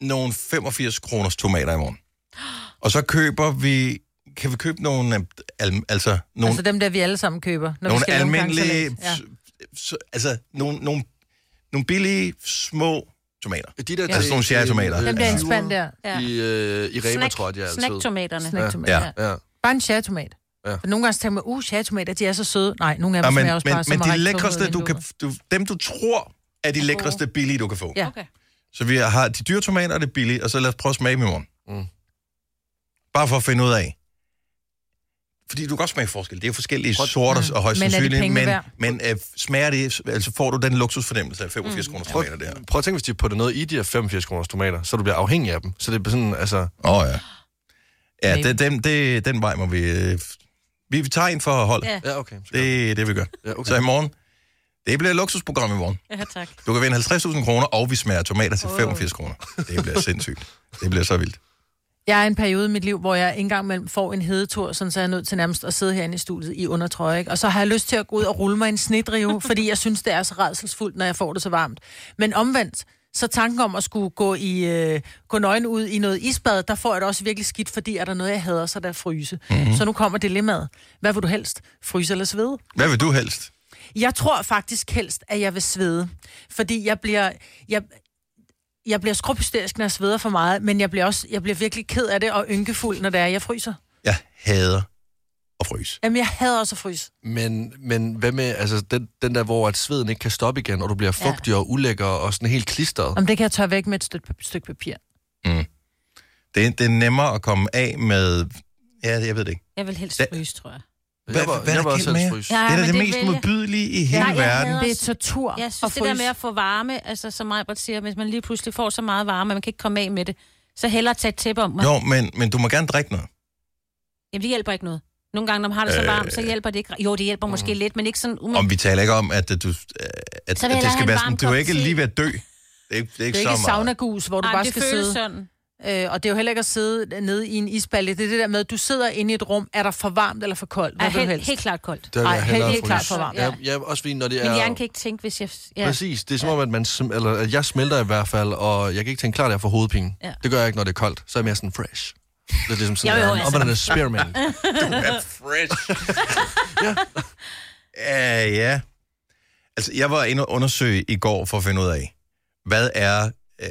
nogle 85 kroners tomater i morgen. Og så køber vi... Kan vi købe nogle, øh, al, altså, nogle,
Altså dem der, vi alle sammen køber. Når vi
nogle
skal lave en gang
almindelige...
salat. Ja.
s- s- Altså, nogle, nogle, nogle billige, små tomater.
De der
Altså sådan nogle cherrytomater.
Dem der er en spand der.
Ja.
I, øh, i Rema, tror jeg, de er altid.
Snacktomaterne.
Snacktomater.
Ja.
Ja.
Ja.
Bare en shæretomat.
Ja.
Ja. For nogle gange så tænker man, uh, shæretomater, de er så søde. Nej, nogle af
Ja,
dem
men,
smager også
men,
bare som
men
at
de
række
lækreste,
tungen ud
du
af
kan, du, dem du tror er de lækreste billige, du kan få.
Ja.
Okay.
Så vi har de dyre tomater og det billige, og så lad os prøve at smage dem i morgen.
Mm.
Bare for at finde ud af. Fordi du kan godt smage forskel. Det er jo forskellige
Prøv-
sorter mm. og højst
Men er det
sandsynligt.
penge
Men,
værd?
men øh, smager det, altså får du den luksusfornemmelse af 85 mm. kroner
Prøv,
tomater der.
prøv at tænke, hvis de putter noget i de her 85 kroners tomater, så du bliver afhængig af dem. Så det er sådan, altså...
Åh oh, ja. Ja,
Maybe.
det, den, det, den vej må vi... øh, Vi vi tager en for holdet.
Ja.
Ja, okay. Så
Det er det, vi gør.
Ja, okay.
Så i morgen... Det bliver et luksusprogram i morgen.
Ja, tak.
Du kan vinde 50.000 kroner, og vi smager tomater til 85 kroner. Det bliver sindssygt. Det bliver så vildt.
Jeg er i en periode i mit liv, hvor jeg engang mellem får en hedetur, sådan så er jeg nødt til nærmest at sidde herinde i studiet i undertrøje. Ikke? Og så har jeg lyst til at gå ud og rulle mig i en snedrive, fordi jeg synes, det er så redselsfuldt, når jeg får det så varmt. Men omvendt, så tanken om at skulle gå, i, øh, gå nøgen ud i noget isbad, der får jeg det også virkelig skidt, fordi er der noget, jeg hader, så er der fryse.
Mhm.
Mm-hmm. Så nu kommer dilemmaet. Hvad vil du helst? Fryse eller svede?
Hvad vil du helst?
Jeg tror faktisk helst, at jeg vil svede. Fordi jeg bliver... Jeg, jeg bliver skrubhysterisk, når jeg sveder for meget, men jeg bliver, også, jeg bliver virkelig ked af det og ynkefuld, når det er, jeg fryser.
Jeg hader at fryse.
Jamen, jeg hader også at fryse.
Men, men hvad med altså, den, den der, hvor at sveden ikke kan stoppe igen, og du bliver fugtig ja. og ulækker og sådan helt klistret?
Om det kan jeg tørre væk med et stykke, stykke papir.
Mm. Det, det er nemmere at komme af med... Ja, jeg ved det ikke.
Jeg vil helst
Da-
fryse, tror jeg.
Hvad-
jeg var,
hvad er
jeg
der
var
galt
selv
med jer?
fryst.
Ja, det er da
men
det, mest
vælger-
modbydelige i hele
Nej, jeg
verden.
hader-
Det er tortur
Jeg
at
synes, det
fryse.
der med at få varme, altså som Majbert siger, hvis man lige pludselig får så meget varme, at man kan ikke komme af med det, så hellere tage et tæppe om mig.
Jo, men, men du må gerne drikke noget.
Jamen, det hjælper ikke noget. Nogle gange, når man har det så varmt, så hjælper det ikke. Jo, det hjælper måske lidt, men ikke sådan...
Øh, mm. Om
Umiddelbart.
vi taler ikke om, at, øh, du, øh, at,
Mm. Så
at
vil jeg
det
have
skal
en
være
varm
sådan... Du
kop
er ikke
te.
lige ved at dø. Det er ikke, det er ikke,
det er ikke
så meget.
sauna-gus, hvor du
Ej,
bare
det
skal
føles
sidde.
sådan.
Øh, og det er jo heller ikke at sidde nede i en isbalje. Det er det der med, at du sidder inde i et rum. Er der for varmt eller for koldt? Hvad
Er
vil du
helt,
helst?
helt klart koldt.
Der vil
Ej,
jeg
helt-
hellere
helt klart
fryse.
for varmt.
Ja, ja, også fordi, når det er...
Min hjerne kan ikke tænke, hvis jeg... Ja.
Præcis. Det er som om, at, man, sm- eller, at jeg smelter i hvert fald, og jeg kan ikke tænke klart, at jeg får hovedpine.
Ja.
Det gør jeg ikke, når det er koldt. Så er jeg mere sådan fresh. Det er ligesom sådan,
Jo, jo,
jeg
altså.
altså. en spearmint.
er fresh. ja. Uh, ja. Altså, jeg var inde og undersøge i går for at finde ud af, hvad er, øh,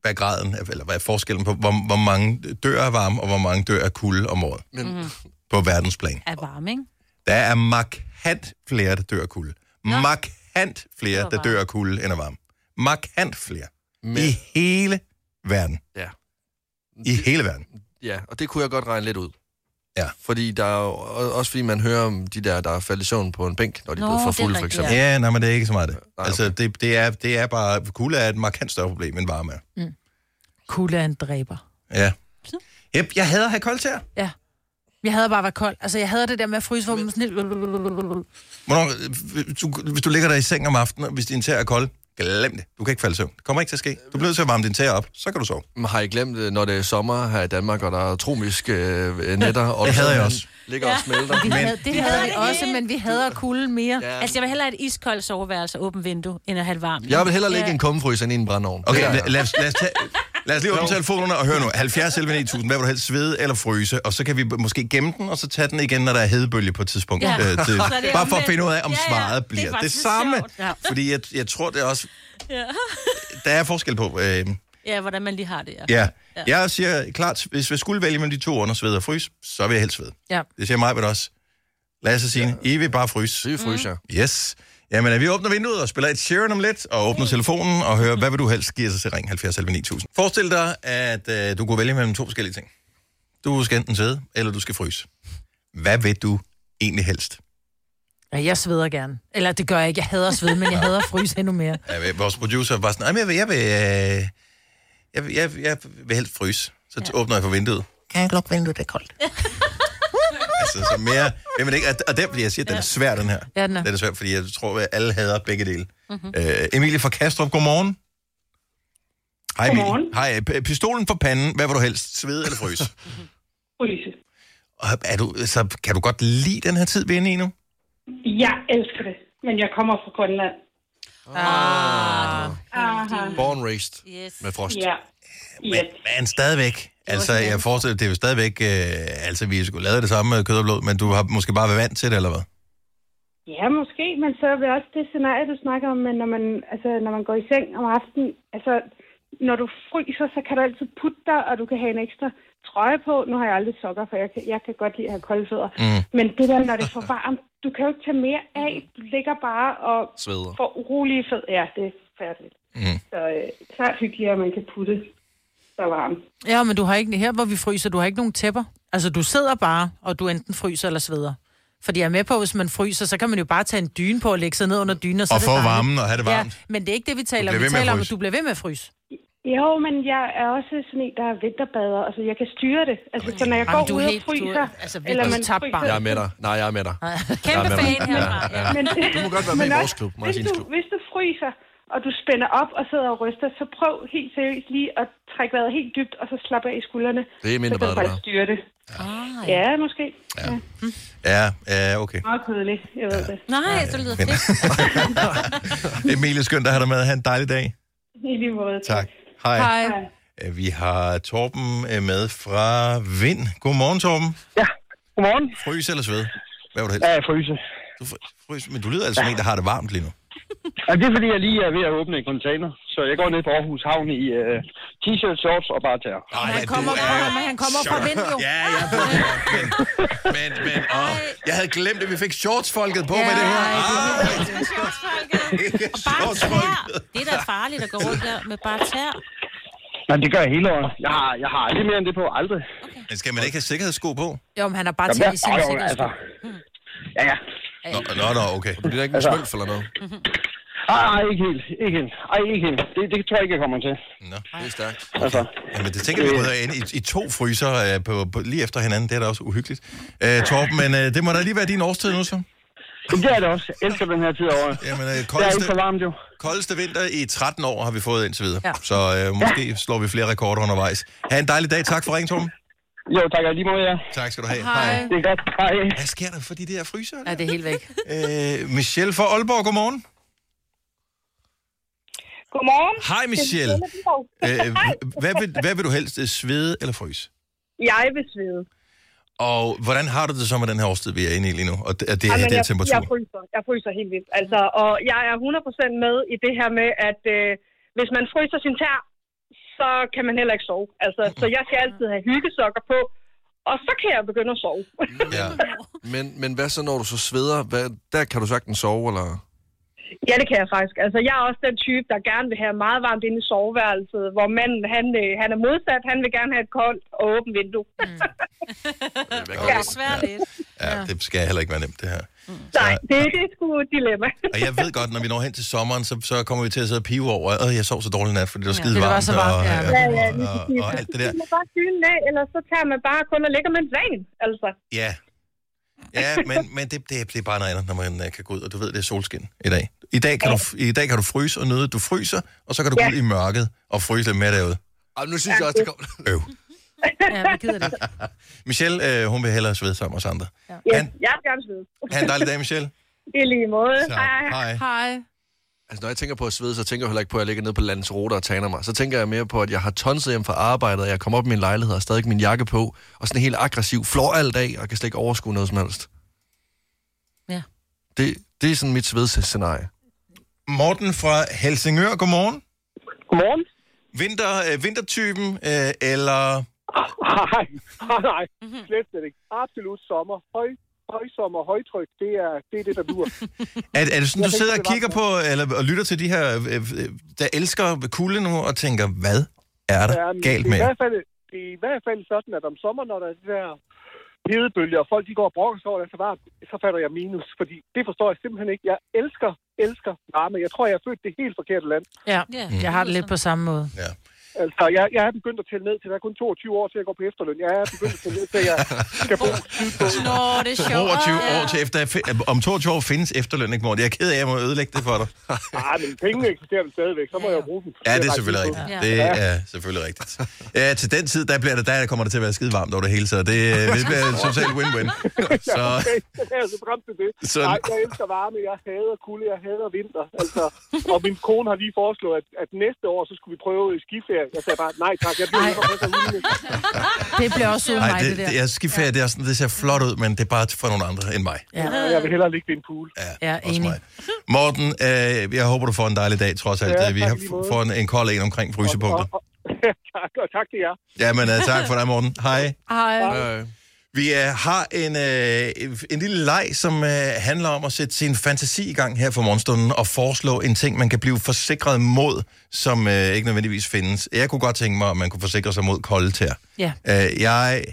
hvad er graden, af- eller hvad er forskellen på, hvor, hvor mange dør af varme, og hvor mange dør af kulde om året
Men mm.
på verdensplan.
Er varm, Mhm. ikke?
Der er markant flere, der dør af kulde. Markant flere, der dør af kulde end af varme. Markant flere. I
Men,
hele verden.
ja.
I hele verden.
ja, og det kunne jeg godt regne lidt ud.
Ja.
Fordi der er jo, og- også fordi man hører om de der, der er faldet i søvn på en bænk, når de er
Nå,
blevet for
det er
fulde, for
rigtigt, ja.
eksempel.
Ja, nej, men det er ikke så meget det.
Nej,
Altså, det, det, er, det er bare... Kulde er et markant større problem end varme er.
Kulde er en dræber.
Ja. Yep, jeg hader at have koldt her.
Jeg havde bare været kold. Altså, jeg havde det der med at fryse, hvor man sådan helt...
Hvornår, øh, du, hvis du ligger der i seng om aftenen, og hvis din tæer er kold, glem det. Du kan ikke falde i søvn. Det kommer ikke til at ske. Du bliver nødt til at varme din tæer op, så kan du sove.
Men Har I glemt, øh, når det er sommer her i Danmark, og der er tromiske øh, netter? Og
Det havde jeg
man
også.
Ligger og smelter.
Vi havde, det havde vi
det
også, men vi hader kulden mere.
Ja.
Altså, jeg vil hellere have et iskoldt soveværelse og åbent vindue, end at have et varmt.
Jeg vil hellere lægge en kummefryser ind i en brændovn.
Okay,
Det er-
ja. lad, os, lad, os tage, lad os lige åbne telefonerne og høre nu. 70 11 9000, hvad vil du helst, svede eller fryse? Og så kan vi b- måske gemme den, og så tage den igen, når der er hedebølge på et tidspunkt.
Ja.
Ja. Øh, til,
Så er det
bare for at
omvendt.
finde ud af, om
Ja, ja,
svaret
det er
bliver det,
faktisk
samme.
sjovt. Ja.
Fordi jeg, jeg tror, det er også... Der er forskel på... Øh,
Ja, hvordan man lige har det, ja.
ja. Jeg siger klart, hvis jeg skulle vælge mellem de to under sved og frys, så vil jeg helst svede.
Ja.
Det siger mig, men også. Lad os sige, I vil bare fryse.
Det er fryser.
Mhm.
Yes. Jamen, øh, vi åbner vinduet og spiller et Sharon om lidt, og åbner telefonen og hører, hvad vil du helst give sig til ring 70 11 9000. Forestil dig, at øh, du kunne vælge mellem to forskellige ting. Du skal enten sidde, eller du skal fryse. Hvad vil du egentlig helst?
Ja, jeg sveder gerne. Eller det gør jeg ikke. Jeg hader at svede, men jeg hader at fryse endnu mere.
Øh, vores producer var sådan, "Ej, men jeg vil, jeg vil, øh, jeg, vil- jeg, jeg vil helst fryse. Så ja. åbner jeg for vinduet. Kan jeg lukke vinduet, det er koldt. altså, så mere... Jamen, ikke, og- og den, fordi jeg siger, den er svær, den her.
Ja, den er.
Den er svær, fordi jeg tror, at alle hader begge dele. Mm-hmm. Øh, Emilie fra Kastrup, godmorgen. Hej,
Godmorgen.
Emilie. Hej, øh, p- pistolen for panden. Hvad vil du helst? Svede eller fryse?
Fryse.
og er du, så kan du godt lide den her tid, vi er inde i nu?
Jeg elsker det, men jeg kommer fra Grønland. Ah. Aha.
Born raised
Yes.
med frost.
Ja.
Men,
Yep.
men stadigvæk. Altså, jeg forestiller, det er jo stadigvæk... Øh, altså, vi skulle lave det samme med kød og blod, men du har måske bare været vant til det, eller hvad?
Ja, måske, men så er det også det scenarie, du snakker om, men når man, altså, når man går i seng om aftenen, altså, når du fryser, så kan du altid putte dig, og du kan have en ekstra trøje på. Nu har jeg aldrig sokker, for jeg kan, jeg kan godt lide at have kolde fødder. Mm. Men det der, når det er for varmt, du kan jo ikke tage mere af. Du ligger bare og
Sveder.
får urolige fødder. Ja, det er færdigt. Mm. Så øh, klart hyggeligere, at man kan putte sig varmt.
Ja, men du har ikke, her hvor vi fryser, du har ikke nogen tæpper. Altså, du sidder bare, og du enten fryser eller sveder. Fordi jeg er med på, hvis man fryser, så kan man jo bare tage en dyne på og lægge sig ned under dynen, og så
Og
er det
få
dejligt.
varmen og have det
Ja,
varmt.
men det er ikke det, vi taler
Du
om.
bliver
Vi
ved med at
taler om, at
fryse.
du bliver ved med at fryse.
Jo, men jeg er også sådan en, der er vinterbader. Altså, jeg kan styre det. Altså, så når jeg
Jamen,
går
du er
ud og
helt- du er-
fryser...
altså, virkelig tabt barn.
Jeg er med dig. Nej, jeg er med dig.
Kæmpe
Ja, men-
fan herfra. Ja.
Men,
Du må godt være med
men
i vores
også,
klub,
hvis
Martins
du,
klub.
hvis du fryser, og du spænder op og sidder og ryster, så prøv helt seriøst lige at trække vejret helt dybt, og så slappe af i skuldrene.
Det er mindre
så kan
bad,
du
det
faktisk
der.
styre det.
Ah, ja.
Ja, måske. Ja. ja.
Ja, ja okay.
Meget kedeligt, jeg ved det.
Nej, så lyder det fedt.
Emilie, skønt at have dig med. Ha' en dejlig dag.
I lige måde.
Tak. Hej.
Hej.
Øh, Vi har Torben øh, med fra Vind. Godmorgen, Torben.
Ja, godmorgen.
Frys eller sved? Hvad var det helst?
Ja, jeg fryser.
Du fry- frys, men du lyder altså som en, der har det varmt lige nu.
Ja, det er fordi, jeg lige er ved at åbne en container. Så jeg går ned på Aarhus Havn i uh, t-shirt, shorts og bare tager.
Nej,
Han kommer, fra, men han kommer fra vind, jo.
Ja, jeg ved det godt, men, men, men åh, jeg havde glemt, at vi fik shortsfolket på ja, med det her.
ej, det
Ah,
Og bare tær. Det er da farligt at gå rundt der med bare tær.
Men det gør jeg hele året. Jeg har, jeg har aldrig mere end det på. Aldrig.
men skal man ikke have sikkerhedssko på?
Jo, men han har bare
Jamen,
taget i sin
jeg- jo, jo,
sikkerhedssko.
altså. Altså. Ja, ja.
Nå, nå, nå okay.
Du bliver ikke en smølf eller noget.
Ej, ej, ikke helt. Ikke helt. Ej, ikke helt. Det, det tror jeg ikke, jeg kommer til.
Nå.
Det er stærkt.
Altså,
Jamen, det tænker vi ud af i, i to fryser øh, på, på, lige efter hinanden. Det er da også uhyggeligt. Øh, Torben, men øh, det må da lige være din årstid nu, så.
det er det også. Jeg elsker den her tid af året.
Jamen, øh,
Det er
koldeste,
ikke for varmt, jo.
Koldeste vinter i 13 år har vi fået indtil videre. Ja.
Ja.
Så øh, måske slår vi flere rekorder undervejs. Ha' en dejlig dag. Tak for ringen, Torben.
Jo, tak og lige måde, ja.
Tak skal du have.
Hej.
Det er godt. Hej.
Hvad sker der for de der fryser?
Ja, det er helt væk.
Øh, Michelle fra Aalborg, godmorgen.
Godmorgen.
Hej, Michelle. Øh, hvad, vil, hvad vil du helst, øh, svede eller fryse?
Jeg vil svede.
Og hvordan har du det så med den her årstid, vi er inde i lige nu? Og det, at det her, det er
jeg,
temperatur.
jeg, fryser, jeg fryser helt vildt. Altså, og jeg er 100% med i det her med, at øh, hvis man fryser sin tær, så kan man heller ikke sove. Altså, så jeg skal altid have hyggesokker på, og så kan jeg begynde at sove.
Ja.
Men, men hvad så, når du så sveder? Hvad, der kan du sagtens sove, eller?
ja, det kan jeg faktisk. Altså, jeg er også den type, der gerne vil have meget varmt inde i soveværelset, hvor manden, han, øh, han er modsat. Han vil gerne have et koldt og åbent vindue.
Det er svært lidt.
ja, det skal heller ikke være nemt, det her.
Nej, det, det er sgu et dilemma.
Og jeg ved godt, når vi når hen til sommeren, så, så kommer vi til at sidde og pive over, at jeg sov så dårligt i nat, fordi det var
Ja,
skide
det var
varmt,
så varmt,
og,
ja.
Ja, ja,
og,
lige
og,
præcis.
og, alt det
Så
der.
tager man bare dynen af, eller så tager man bare kun og ligger med en plan, altså.
Ja. Ja, men, men det, det, det er bare noget andet, når man øh, kan gå ud, og du ved, det er solskin i dag. I dag kan, du, i dag kan du fryse og nøde, du fryser, og så kan du gå
Ja.
ud i mørket og fryse lidt mere derude.
Ej, nu synes jeg også, det kommer...
Øv.
Ja, vi gider det. ikke.
Michelle, øh, hun vil hellere svede sammen med os andre. Ja.
Ja,
Han,
jeg vil gerne svede.
han en dejlig dag, Michelle.
I lige måde.
Tak.
Hej, hej.
Hej.
Hej.
Altså, når jeg tænker på at svede, så tænker jeg heller ikke på, at jeg ligger nede på landets roter og taner mig. Så tænker jeg mere på, at jeg har tonset hjem fra arbejdet, og jeg kommer op i min lejlighed og har stadig min jakke på, og sådan helt aggressiv, flår alt af, og kan slet ikke overskue noget som helst.
Ja.
Det, det er sådan mit svedsscenarie.
Morten fra Helsingør, godmorgen.
Godmorgen.
Vinter, øh, vintertypen, øh, eller...
Nej, nej, nej.
Mhm.
Slet slet ikke. Absolut sommer. Høj, højsommer, højtryk, det er det, er det der dur.
Er, er det sådan, du
tænkte,
sidder og
det var
kigger på, eller og lytter til de her, øh, øh, der elsker kulde nu, og tænker, hvad er der
Jamen,
galt
det er
med?
Øhm, i
jer?
hvert fald, det er i hvert fald sådan, at om sommeren, når der er de der hedebølger, og folk de går og brokker sig over, at det er så varmt, så fatter jeg minus. Fordi det forstår jeg simpelthen ikke. Jeg elsker, elsker varme. Jeg tror, jeg er født det helt forkerte land.
Ja,
Ja.
jeg har det lidt på samme måde.
Altså, jeg, jeg er begyndt at tælle ned til, der er kun 22 år til at gå på efterløn. Jeg er begyndt at tælle ned til, at jeg skal bo sydpå.
Nå, det er sjovt. Ah.
22 år til efter, fi- om 22 år findes efterløn, ikke Morten? Jeg er ked af, at jeg må ødelægge det for dig.
Nej, men pengene eksisterer vel stadigvæk, så må jeg jo bruge dem.
Ja, det er
ret
selvfølgelig
tit på.
rigtigt. Det er selvfølgelig rigtigt. Ja, til den tid, der, bliver det, der kommer det til at være skide varmt over det hele, så det, øh, det bliver en total win-win. Så,
Okay, så kan jeg så frem til det.
Så-
Nej, jeg elsker varme, jeg hader kulde, jeg hader vinter. Altså, og min kone har lige foreslået, at, at næste år, så skulle vi prøve skiferie. Jeg sagde bare, nej tak, jeg bliver ikke på familie.
Det bliver også uden
ej,
mig, det,
det,
der.
det, jeg skal ferie, det, er sådan, det ser flot ud, men det er bare for nogle andre end mig.
Ja,
Jeg vil hellere ligge ved en pool.
jeg er
Også
enig.
mig. Morten, øh, jeg håber, du får en dejlig dag, trods alt.
Ja,
Ja, vi
tak
har
i lige måde.
får en, en kold en omkring frysepunkter.
Og- og- tak, og tak til jer.
Jamen, øh, tak for dig, Morten. Hej.
Hej.
Øh.
Vi øh, har en, øh, en lille leg, som øh, handler om at sætte sin fantasi i gang her for morgenstunden og foreslå en ting, man kan blive forsikret mod, som øh, ikke nødvendigvis findes. Jeg kunne godt tænke mig, at man kunne forsikre sig mod kolde tær.
Ja.
Øh, jeg...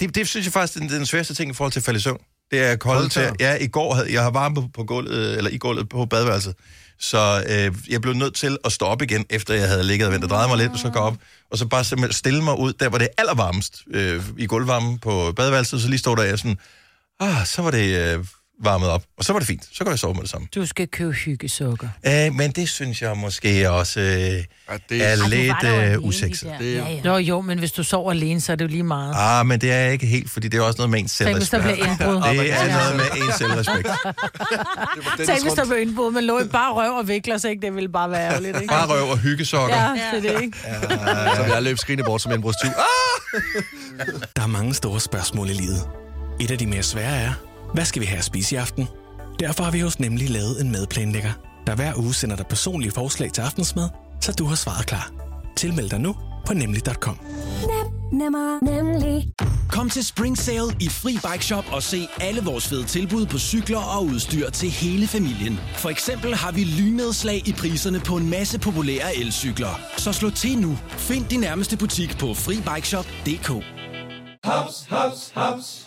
Det, det synes jeg faktisk er den, den sværeste ting i forhold til at falde i søvn. Det er kolde
Kolde
tæer.
tæer.
Ja, i går havde jeg har varme på, på gulvet, øh, eller i gulvet på badeværelset. Så øh, jeg blev nødt til at stå op igen, efter jeg havde ligget og ventet og drejet mig lidt, og så gå op, og så bare simpelthen stille mig ud, der var det er allervarmest øh, i gulvvarmen på badeværelset, så lige stod der jeg sådan, ah, så var det øh, varmet op, og så var det fint, så går jeg sove med det samme.
Du skal købe hyggesukker.
Øh, men det synes jeg måske også øh,
Ja, det,
er
er,
lidt øh, usekset.
det, er,
Nå jo, men hvis du sover alene, så er det jo lige meget.
Ah, men det er jeg ikke helt, fordi det er også noget med ens
Tænk, hvis der
selvrespekt.
bliver indbrud.
Det er
Ja.
noget med ens selvrespekt.
Tænk, hvis der blev indbrud, men lå i bare røv og vikler sig, ikke? Det ville bare være ærgerligt, ikke?
Bare røv og hyggesokker.
Ja,
Ja.
det er det, ikke?
så vil jeg løbe skrigende bort som en brudstyv. Ah!
Der er mange store spørgsmål i livet. Et af de mere svære er, hvad skal vi have at spise i aften? Derfor har vi hos Nemlig lavet en madplanlægger, der hver uge sender dig personlige forslag til aftensmad, så du har svaret klar. Tilmeld dig nu på nemlig.com.
Nemmer, nemlig.
Kom til Spring Sale i Fri Bike Shop og se alle vores fede tilbud på cykler og udstyr til hele familien. For eksempel har vi lynedslag i priserne på en masse populære elcykler. Så slå til nu. Find din nærmeste butik på FriBikeShop.dk
Haps, haps, haps.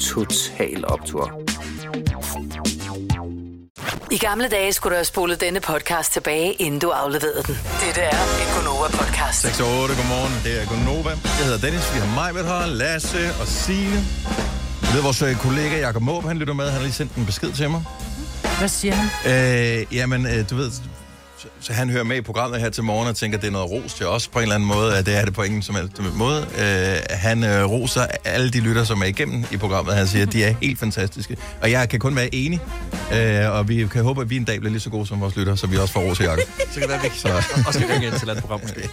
Total Optor.
I gamle dage skulle du have spolet denne podcast tilbage, inden du afleverede den. Dette er en Gunova-podcast.
6 og 8, godmorgen. Det er Gonova. Jeg hedder Dennis, vi har mig med her, Lasse og Signe. Jeg ved, vores øh, kollega Jakob Måb, han lytter med. Han har lige sendt en besked til mig.
Hvad siger han?
Øh, jamen, øh, du ved, så, så han hører med i programmet her til morgen og tænker, at det er noget ros til os på en eller anden måde, at det er det på ingen som helst måde. Øh, han øh, roser alle de lytter, som er igennem i programmet. Han siger, at de er helt fantastiske. Og jeg kan kun være enig, øh, og vi kan håbe, at vi en dag bliver lige så gode som vores lytter, så vi også får ros til Jacob.
Så kan det være, at vi kan-
Så-
også kan ringe ind til et andet program, måske.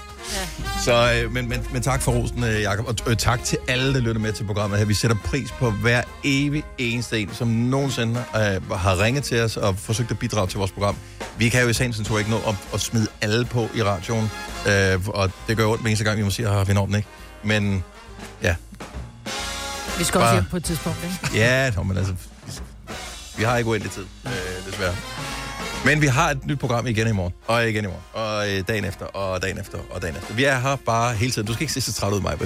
Så, øh, men, men, men tak for rosen, øh, Jacob, og øh, tak til alle, der lytter med til programmet her. Vi sætter pris på hver evig eneste en, som nogensinde øh, har ringet til os og forsøgt at bidrage til vores program. Vi kan jo i sagens natur ikke nå at, at smide alle på i radioen, øh, og det gør ondt hver eneste gang, vi må sige, at vi når den ikke. Men ja,
Vi skal også
Bare-
hjem på et tidspunkt, ikke?
ja, nå, men altså, vi har ikke uendelig tid, øh, desværre. Men vi har et nyt program igen i morgen, og igen i morgen, og øh, dagen efter, og dagen efter, og dagen efter. Vi er her bare hele tiden. Du skal ikke se så træt ud, mig.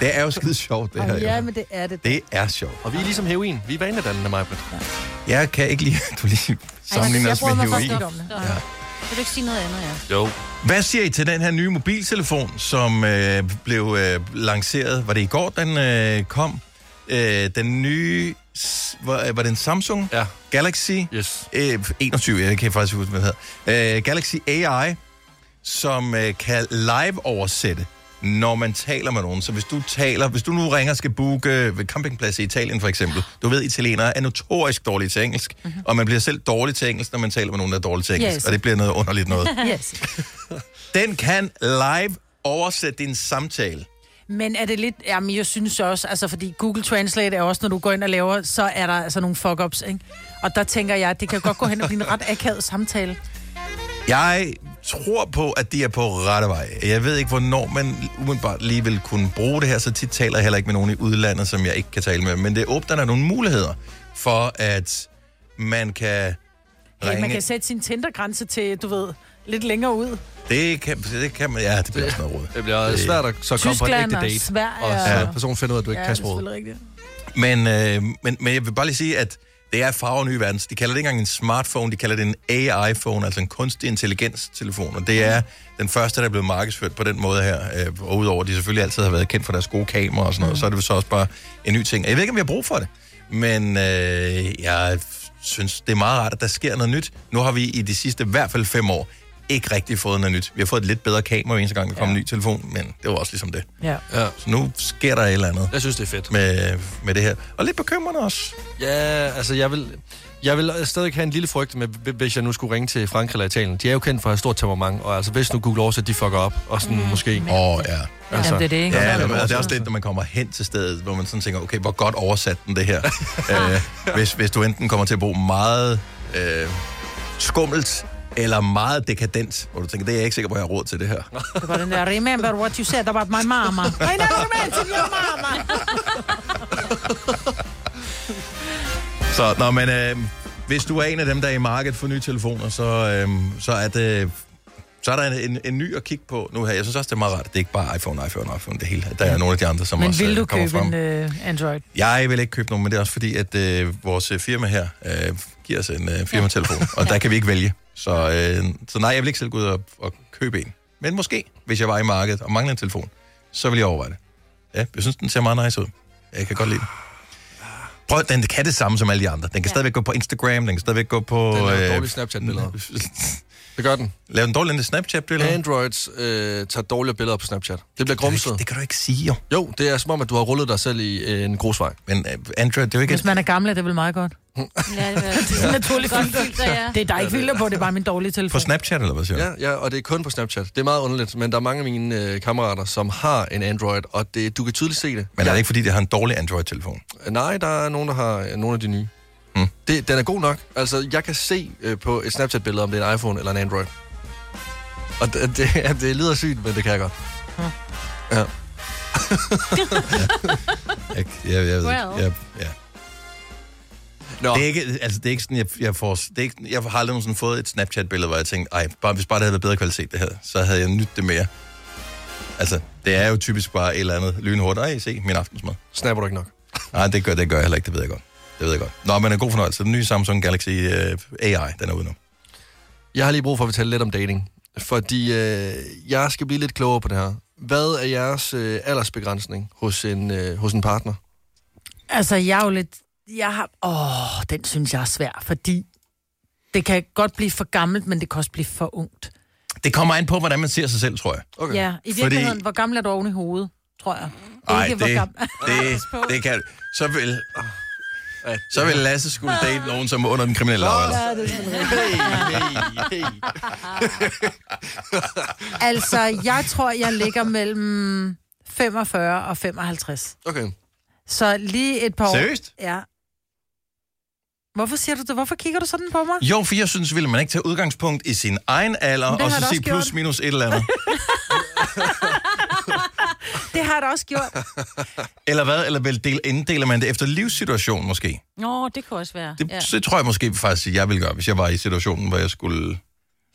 Det er jo skide sjovt, det her.
Og
jo.
ja, men det er det.
Det er sjovt.
Og vi er ligesom heroin. Vi er vanedannende, Majbrit.
Jeg kan ikke lige, du lige sammenligner os med heroin.
Ja. Vil du ikke sige noget andet, ja?
Jo.
Hvad siger I til den her nye mobiltelefon, som øh, blev øh, lanceret? Var det i går, den øh, kom? Øh, den nye... s- Var, øh, var det en Samsung?
Ja.
Galaxy?
Yes.
Øh, 21, jeg kan faktisk huske, hvad det hedder. Øh, Galaxy AI, som øh, kan live-oversætte, når man taler med nogen. Så hvis du taler, hvis du nu ringer og skal booke øh, ved campingplads i Italien for eksempel. Du ved, italienere er notorisk dårlige til engelsk,
Mhm.
mm-hmm. og man bliver selv dårlig til engelsk, når man taler med nogen, der er dårlig til engelsk.
Yes.
Og det bliver noget underligt noget.
yes.
Den kan live oversætte din samtale.
Men er det lidt... Jamen, jeg synes også, altså, fordi Google Translate er også, når du går ind og laver, så er der altså nogle fuck-ups, ikke? Og der tænker jeg, at det kan godt gå hen og blive en ret akavet samtale.
Jeg tror på, at de er på rette vej. Jeg ved ikke, hvornår man umiddelbart lige vil kunne bruge det her. Så tit taler jeg heller ikke med nogen i udlandet, som jeg ikke kan tale med. Men det åbner der nogle muligheder for, at man kan
Hey,
ringe.
man kan sætte sin Tinder-grænse til, du ved, lidt længere ud.
Det, kan, det kan man... Ja, det bliver også noget råd.
Det bliver svært at så komme på en
Tyskland
ægte
og
date.
Sverige
og så
og-
personen finder ud af, at du ikke
ja,
kan
det er selvfølgelig
sproget.
rigtigt.
Men, øh, men, men jeg vil bare lige sige, at det er farver nye verden. De kalder det ikke engang en smartphone, de kalder det en AI-phone, altså en kunstig intelligens-telefon. Og det er den første, der er blevet markedsført på den måde her. Øh, og udover, at de selvfølgelig altid har været kendt for deres gode kameraer og sådan
Mm.
noget, så er det så også bare en ny ting. Og Jeg ved ikke, om vi har brug for det, men øh, jeg synes, det er meget rart, at der sker noget nyt. Nu har vi i de sidste i hvert fald fem år ikke rigtig fået noget nyt. Vi har fået et lidt bedre kamera hver eneste gang, der kom en ny telefon, men det var også ligesom det.
Ja.
ja.
Så nu sker der et eller andet.
Jeg synes, det er fedt.
Med, med det her. Og lidt bekymrende også.
Ja, altså jeg vil, jeg vil stadig have en lille frygt, med, hvis jeg nu skulle ringe til Frankrig eller Italien. De er jo kendt for at have stort temperament, og altså hvis nu Google oversætter, de fucker op, og sådan mm, måske. Åh,
oh, ja.
Altså,
Jamen, det er det, ikke?
Ja, eller, og det er også lidt, når man kommer hen til stedet, hvor man sådan tænker, okay, hvor godt oversat den det her. øh, hvis, hvis du enten kommer til at bruge meget øh, skummelt, eller meget dekadent, hvor du tænker, det er jeg ikke sikker på, at jeg har råd til det her.
Det var den der, remember what you said about my mama. I never mentioned your mama.
Så, nå, men øh, hvis du er en af dem, der er i markedet for nye telefoner, så, øh, så er det... Så er der en, en, en ny at kigge på nu her. Jeg synes også, det er meget rart, at det ikke bare er iPhone, iPhone, iPhone, det hele. Der er nogle af de andre, som
Men
også
vil
øh,
du
kommer
købe
frem.
en uh, Android?
Jeg vil ikke købe nogen, men det er også fordi, at øh, vores øh, firma her øh, giver os en øh, firmatelefon, og der kan vi ikke vælge. Så, øh, så nej, jeg vil ikke selv gå ud og, og købe en. Men måske, hvis jeg var i markedet og manglede en telefon, så vil jeg overveje det. Ja, jeg synes, den ser meget nice ud. Jeg kan godt lide den. Prøv, den kan det samme som alle de andre. Den kan ja. stadigvæk gå på Instagram, den kan stadigvæk gå på... øh,
Den laver dårlige Snapchat-billeder. Det gør den.
Lav den dårlige Snapchat-billeder?
Androids øh, tager dårlige billeder på Snapchat. Det bliver grumset.
Det kan du ikke sige, jo.
Jo, det er som om, at du har rullet dig selv i øh, en grusvej.
Men øh, Android, det er jo ikke...
Hvis man er gammel, er det vel meget godt.
Ja, det
Det er sådan en naturlig filter.
ja.
Det er der ikke filter på, det er bare min dårlige telefon.
På Snapchat, eller hvad siger du?
Ja, ja, og det er kun på Snapchat. Det er meget underligt, men der er mange af mine øh, kammerater, som har en Android, og det, du kan tydeligt se det.
Men er det ikke, fordi det har en dårlig Android-telefon?
Nej, der er nogen, der har øh, nogle af de nye.
Hmm.
Mm. Det, den er god nok. Altså, jeg kan se øh, på et Snapchat-billede, om det er en iPhone eller en Android. Og det, det, det lyder sygt, men det kan jeg godt. Ja.
Jeg, jeg, jeg ved
Well.
ikke. Jeg, ja. Nå. Det er ikke, altså, det er ikke sådan, jeg, jeg får... Det er ikke, jeg har aldrig sådan fået et Snapchat-billede, hvor jeg tænkte, ej, bare, hvis bare det havde været bedre kvalitet, det her, så havde jeg nyt det mere. Altså, det er jo typisk bare et eller andet lynhurtigt. Ej, se, min aftensmad.
Snapper du ikke nok?
Nej, det gør, det gør jeg heller ikke, det ved jeg godt. Det ved jeg godt. Nå, men en god fornøjelse. Den nye Samsung Galaxy øh, AI, den er ude nu.
Jeg har lige brug for at fortælle lidt om dating, fordi øh, jeg skal blive lidt klogere på det her. Hvad er jeres øh, aldersbegrænsning hos en, øh, hos en partner?
Altså, jeg er jo lidt... Jeg har... Åh, den synes jeg er svær, fordi det kan godt blive for gammelt, men det kan også blive for ungt.
Det kommer an på, hvordan man ser sig selv, tror jeg.
Okay. Ja, i virkeligheden,
Fordi
Fordi... hvor gammel er du oven i hovedet, tror jeg.
Ej,
Ikke, hvor
det,
gammel-
det, det kan Så vil... Så vil Lasse skulle
Ah.
date nogen, som er under den kriminelle lavalder.
Ja, det er sådan rigtigt.
hey, hey.
Altså, jeg tror, jeg ligger mellem 45 og 55.
Okay.
Så lige et par år...
Seriøst?
Ja. Hvorfor siger du det? Hvorfor kigger du sådan på mig?
Jo, for jeg synes, ville man ikke tage udgangspunkt i sin egen alder,
Men det
og
har
så
jeg da
sige
også
plus
gjort.
minus et eller andet.
Det har jeg da også gjort.
eller hvad? Eller vel del, inddeler man det efter livssituation måske?
Nå, det kunne også være.
Det, ja. det tror jeg måske faktisk, at jeg ville gøre, hvis jeg var i situationen, hvor jeg skulle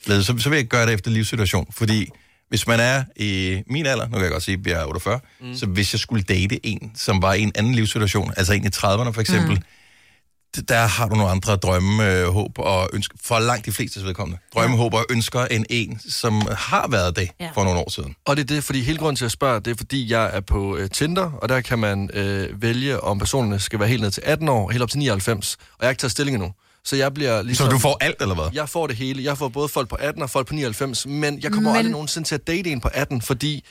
lede. Så, så vil jeg gøre det efter livssituation, fordi hvis man er i min alder, nu kan jeg godt sige, at jeg er 48, mm. så hvis jeg skulle date en, som var i en anden livssituation, altså en i 30'erne for eksempel, mm. der har du nogle andre drømme, øh, håb og ønsker, for langt de fleste vedkommende. Drømme, ja. håb og ønsker end en, som har været det ja. for nogle år siden.
Og det er det, fordi hele grunden til at spørge, det er fordi, jeg er på øh, Tinder, og der kan man øh, vælge, om personerne skal være helt ned til 18 år, helt op til 99, og jeg har ikke taget stilling endnu. Så jeg bliver ligesom...
Så du får alt, eller hvad?
Jeg får det hele. Jeg får både folk på 18 og folk på 99, men jeg kommer
Men-
men... aldrig nogensinde til at date en på 18, fordi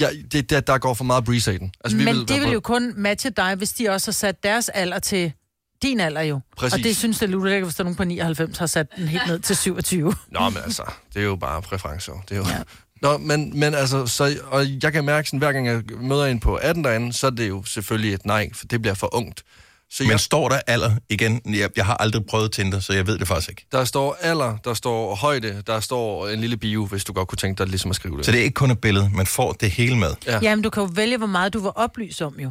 jeg, det er der, der går for meget breeze i den.
Altså, vi Men
være
det vil
på-
jo kun matche dig, hvis de også har sat deres alder til din alder jo.
Præcis.
Og det synes jeg lutter ikke, hvis der er nogen på 99 har sat den helt ned til 27.
Nå, men altså, det er jo bare præferencer. Det er jo... Ja. Nå, men, men altså, så, og jeg kan mærke, sådan, hver gang jeg møder en på 18 derinde, så er det jo selvfølgelig et nej, for det bliver for ungt. Så
Men står der alder igen? Jeg, jeg har aldrig prøvet Tinder, så jeg ved det faktisk ikke.
Der står alder, der står højde, der står en lille bio, hvis du godt kunne tænke dig ligesom at skrive det.
Så det er ikke kun et billede, man får det hele med.
Ja. Jamen, du kan jo vælge, hvor meget du vil oplyse om jo.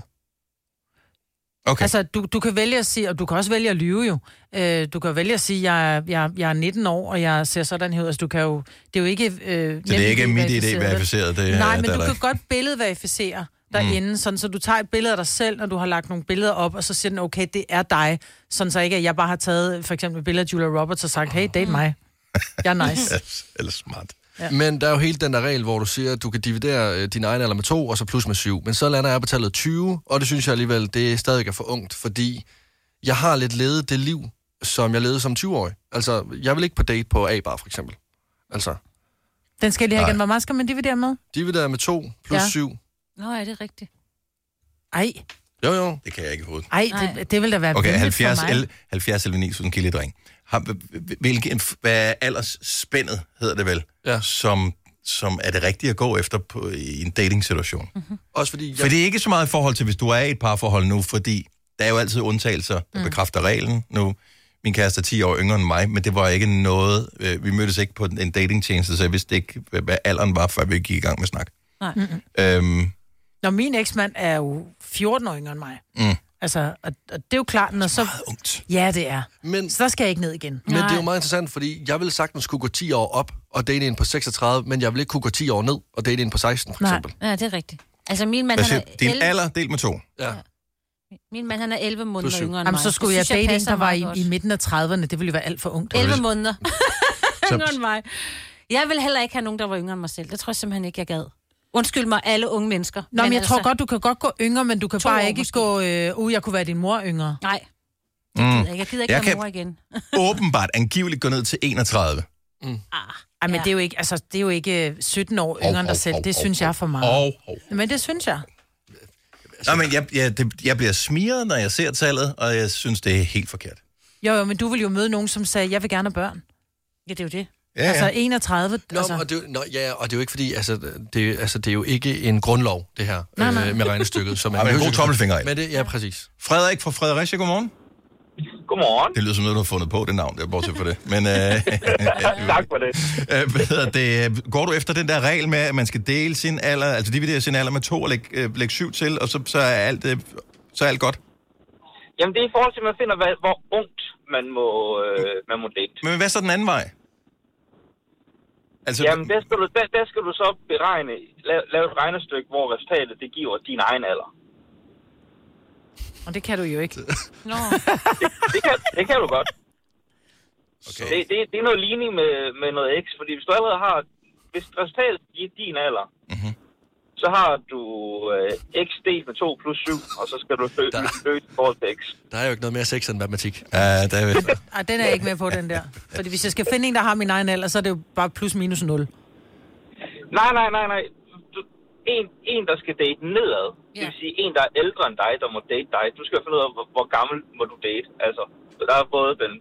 Okay.
Altså, du, du kan vælge at sige, og du kan også vælge at lyve jo. Øh, du kan vælge at sige, jeg, er- jeg, er- jeg er 19 år, og jeg ser sådan her ud. Altså, du kan jo... Det er jo ikke... Øh,
Så det er ikke mit idé verificeret. Det,
Nej,
er
men
der
du
ikke.
kan godt billedverificere derinde, mm. sådan, så du tager et billede af dig selv, når du har lagt nogle billeder op, og så siger den, okay, det er dig. Sådan så ikke, at jeg bare har taget for eksempel et billede af Julia Roberts og sagt, hey,
Mm.
date mig. Jeg er Ah, nice.
Eller smart.
Ja.
Men der er jo hele den der regel, hvor du siger, at du kan dividere øh, din egen alder med to, og så plus med syv. Men så lander jeg på tallet 20, og det synes jeg alligevel, det er stadig er for ungt, fordi jeg har lidt levet det liv, som jeg levede som 20-årig. Altså, jeg vil ikke på date på A-bar, for eksempel. Altså,
Den skal jeg lige have
Nej.
igen. Hvor meget skal man dividere med?
dividere med to plus
Ja.
ja. syv.
Nå, ja, det er rigtigt.
Ej,
Jo, jo.
Det kan jeg ikke i hovedet.
ej, det, det vil da være
Okay,
okay,
70,
for mig.
11, 70 eller 9000 kilo dreng. Har- Hvilken, hvad er aldersspændet, hedder det vel,
ja.
som, som er det rigtige at gå efter på, i en dating-situation?
Også fordi... Jeg...
For det er ikke så meget i forhold til, hvis du er i et parforhold nu, fordi der er jo altid undtagelser,
Mhm.
der mm. bekræfter reglen. Nu, min kæreste er 10 år yngre end mig, men det var ikke noget... Øh, vi mødtes ikke på en datingtjeneste, så jeg vidste ikke, hvad, hvad alderen var, før vi gik i gang med snak.
Nej. Mm-mm.
Øhm,
Når min eksmand er jo 14 år yngre end mig.
mm.
Altså, og, og det er jo klart, når så...
ungt.
Ja, det er.
Men,
så der skal jeg ikke ned igen.
Men det er jo meget interessant, fordi jeg ville sagtens kunne gå 10 år op og date en på 36, men jeg ville ikke kunne gå 10 år ned og date en på 16, for
Nej.
eksempel.
Ja, det er rigtigt. Altså, min mand,
Hvad
han
siger,
er
du? din
11,
alder delt med to.
Ja.
min mand, han er 11 måneder
syv.
yngre end mig.
Jamen, så skulle jeg,
Det synes
date en,
passer
der var
meget
i,
godt.
i midten af 30'erne. Det ville jo være alt for ungt.
11 måneder.
Så-
yngre end mig. Jeg vil heller ikke have nogen, der var yngre end mig selv. Det tror jeg simpelthen ikke, jeg gad. Undskyld mig, alle unge mennesker.
Nå, men jeg
altså,
tror godt, du kan godt gå yngre, men du kan
To år
bare ikke
altså- måske.
gå... Øh, uh, jeg kunne være din mor yngre.
Nej,
Mm.
jeg gider ikke jeg
Jeg kan-
have mor igen.
åbenbart angiveligt gå ned til 31.
Ej, men ja. det, er jo ikke, altså, det er jo ikke 17 år yngre end dig selv. Det synes jeg er for meget.
Og, og.
Men det synes jeg.
Nå, men jeg, jeg, det, jeg bliver smiret, når jeg ser tallet, og jeg synes, det er helt forkert.
Jo, jo, men du vil jo møde nogen, som sagde, jeg vil gerne have børn. Ja, det er jo det. Ja,
Ja,
ja.
ja. Altså 31...
Nå,
altså,
og det, er jo- nå, ja, og det er jo ikke fordi, altså det, altså, det er jo ikke en grundlov, det her,
Nej,
nej,
nej.
nej. Øh, med regnestykket. Som
Ej, men en god tommelfinger i.
Men det, ja, præcis.
Frederik fra Fredericia, godmorgen.
Godmorgen.
Det lyder som noget, du har fundet på, det navn, der bortset for det. Men, øh,
tak for det.
øh, hvad hedder det? Går du efter den der regel med, at man skal dele sin alder, altså dividere sin alder med to og lægge, øh, lægge syv til, og så, så, er alt, øh, så er alt godt?
Jamen, det er i forhold til, at man finder, hvad, hvor ungt man må, øh, man må date.
Men hvad så den anden vej?
Altså, Jamen, der skal, du, der, der skal du så beregne, lave, lave et regnestykke, hvor resultatet det giver din egen alder.
Og det kan du jo ikke. Nå.
Det kan, det kan du godt. Okay. Det, det, det er noget ligning med, med noget X, fordi hvis du allerede har... Hvis resultatet giver din alder, mm-hmm.
Mhm.
så har du øh, X delt med 2 plus 7, og så skal du løse løse i forhold til X.
Der er jo ikke noget mere sex end matematik.
Ja, der er
Ej, den er jeg ikke med på, den der. Fordi hvis jeg skal finde en, der har min egen alder, så er det jo bare plus minus 0.
Nej, nej, nej, nej. Du, en, en, der skal date nedad. Yeah. Det vil sige, en, der er ældre end dig, der må date dig. Du skal finde ud af, hvor, hvor gammel må du date. Altså, så der er både den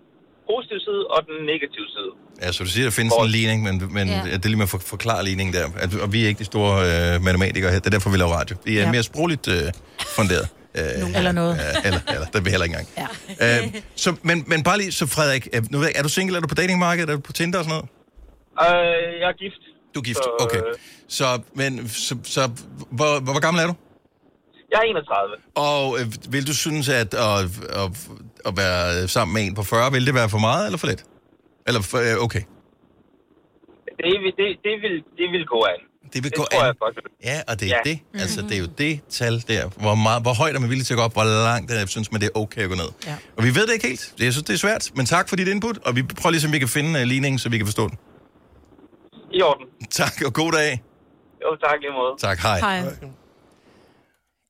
positive side og den negative side.
Ja, så du siger, der findes en ligning, men, men
Ja.
ja. det er lige med at for- forklare ligningen der. At, og vi er ikke de store øh, matematikere her, det er derfor, vi laver radio. Vi er
Ja.
ja. mere sprogligt øh, funderet. Øh,
Eller noget.
Øh, eller, eller, det er vi heller ikke engang. Ja. Øh, så, men, men bare lige, så Frederik, øh, nu ved jeg, ikke, er du single, er du på datingmarkedet, er du på Tinder og sådan noget?
Øh, jeg er gift.
Du er gift, så,
øh,
okay. Så, men, så, så hvor, hvor, hvor gammel er du?
Jeg er 31.
Og øh, vil du synes, at at, at, at være sammen med en på 40, vil det være for meget eller for lidt? Eller for, øh, okay.
Det, vil- det, det, vil, det vil gå an.
Det vil
det
gå
tror
an.
Jeg godt.
Ja, og det er ja. det.
Mhm.
Altså, det er jo det tal der. Hvor, meget, hvor højt er man villig til at gå op? Hvor langt er, synes man, det er okay at gå ned? Ja. Og vi ved det ikke helt. Jeg synes, det er svært. Men tak for dit input. Og vi prøver lige, så vi kan finde uh, ligningen, så vi kan forstå den.
I orden.
Tak, og god dag.
Jo, tak lige måde.
Tak, hej.
Hej.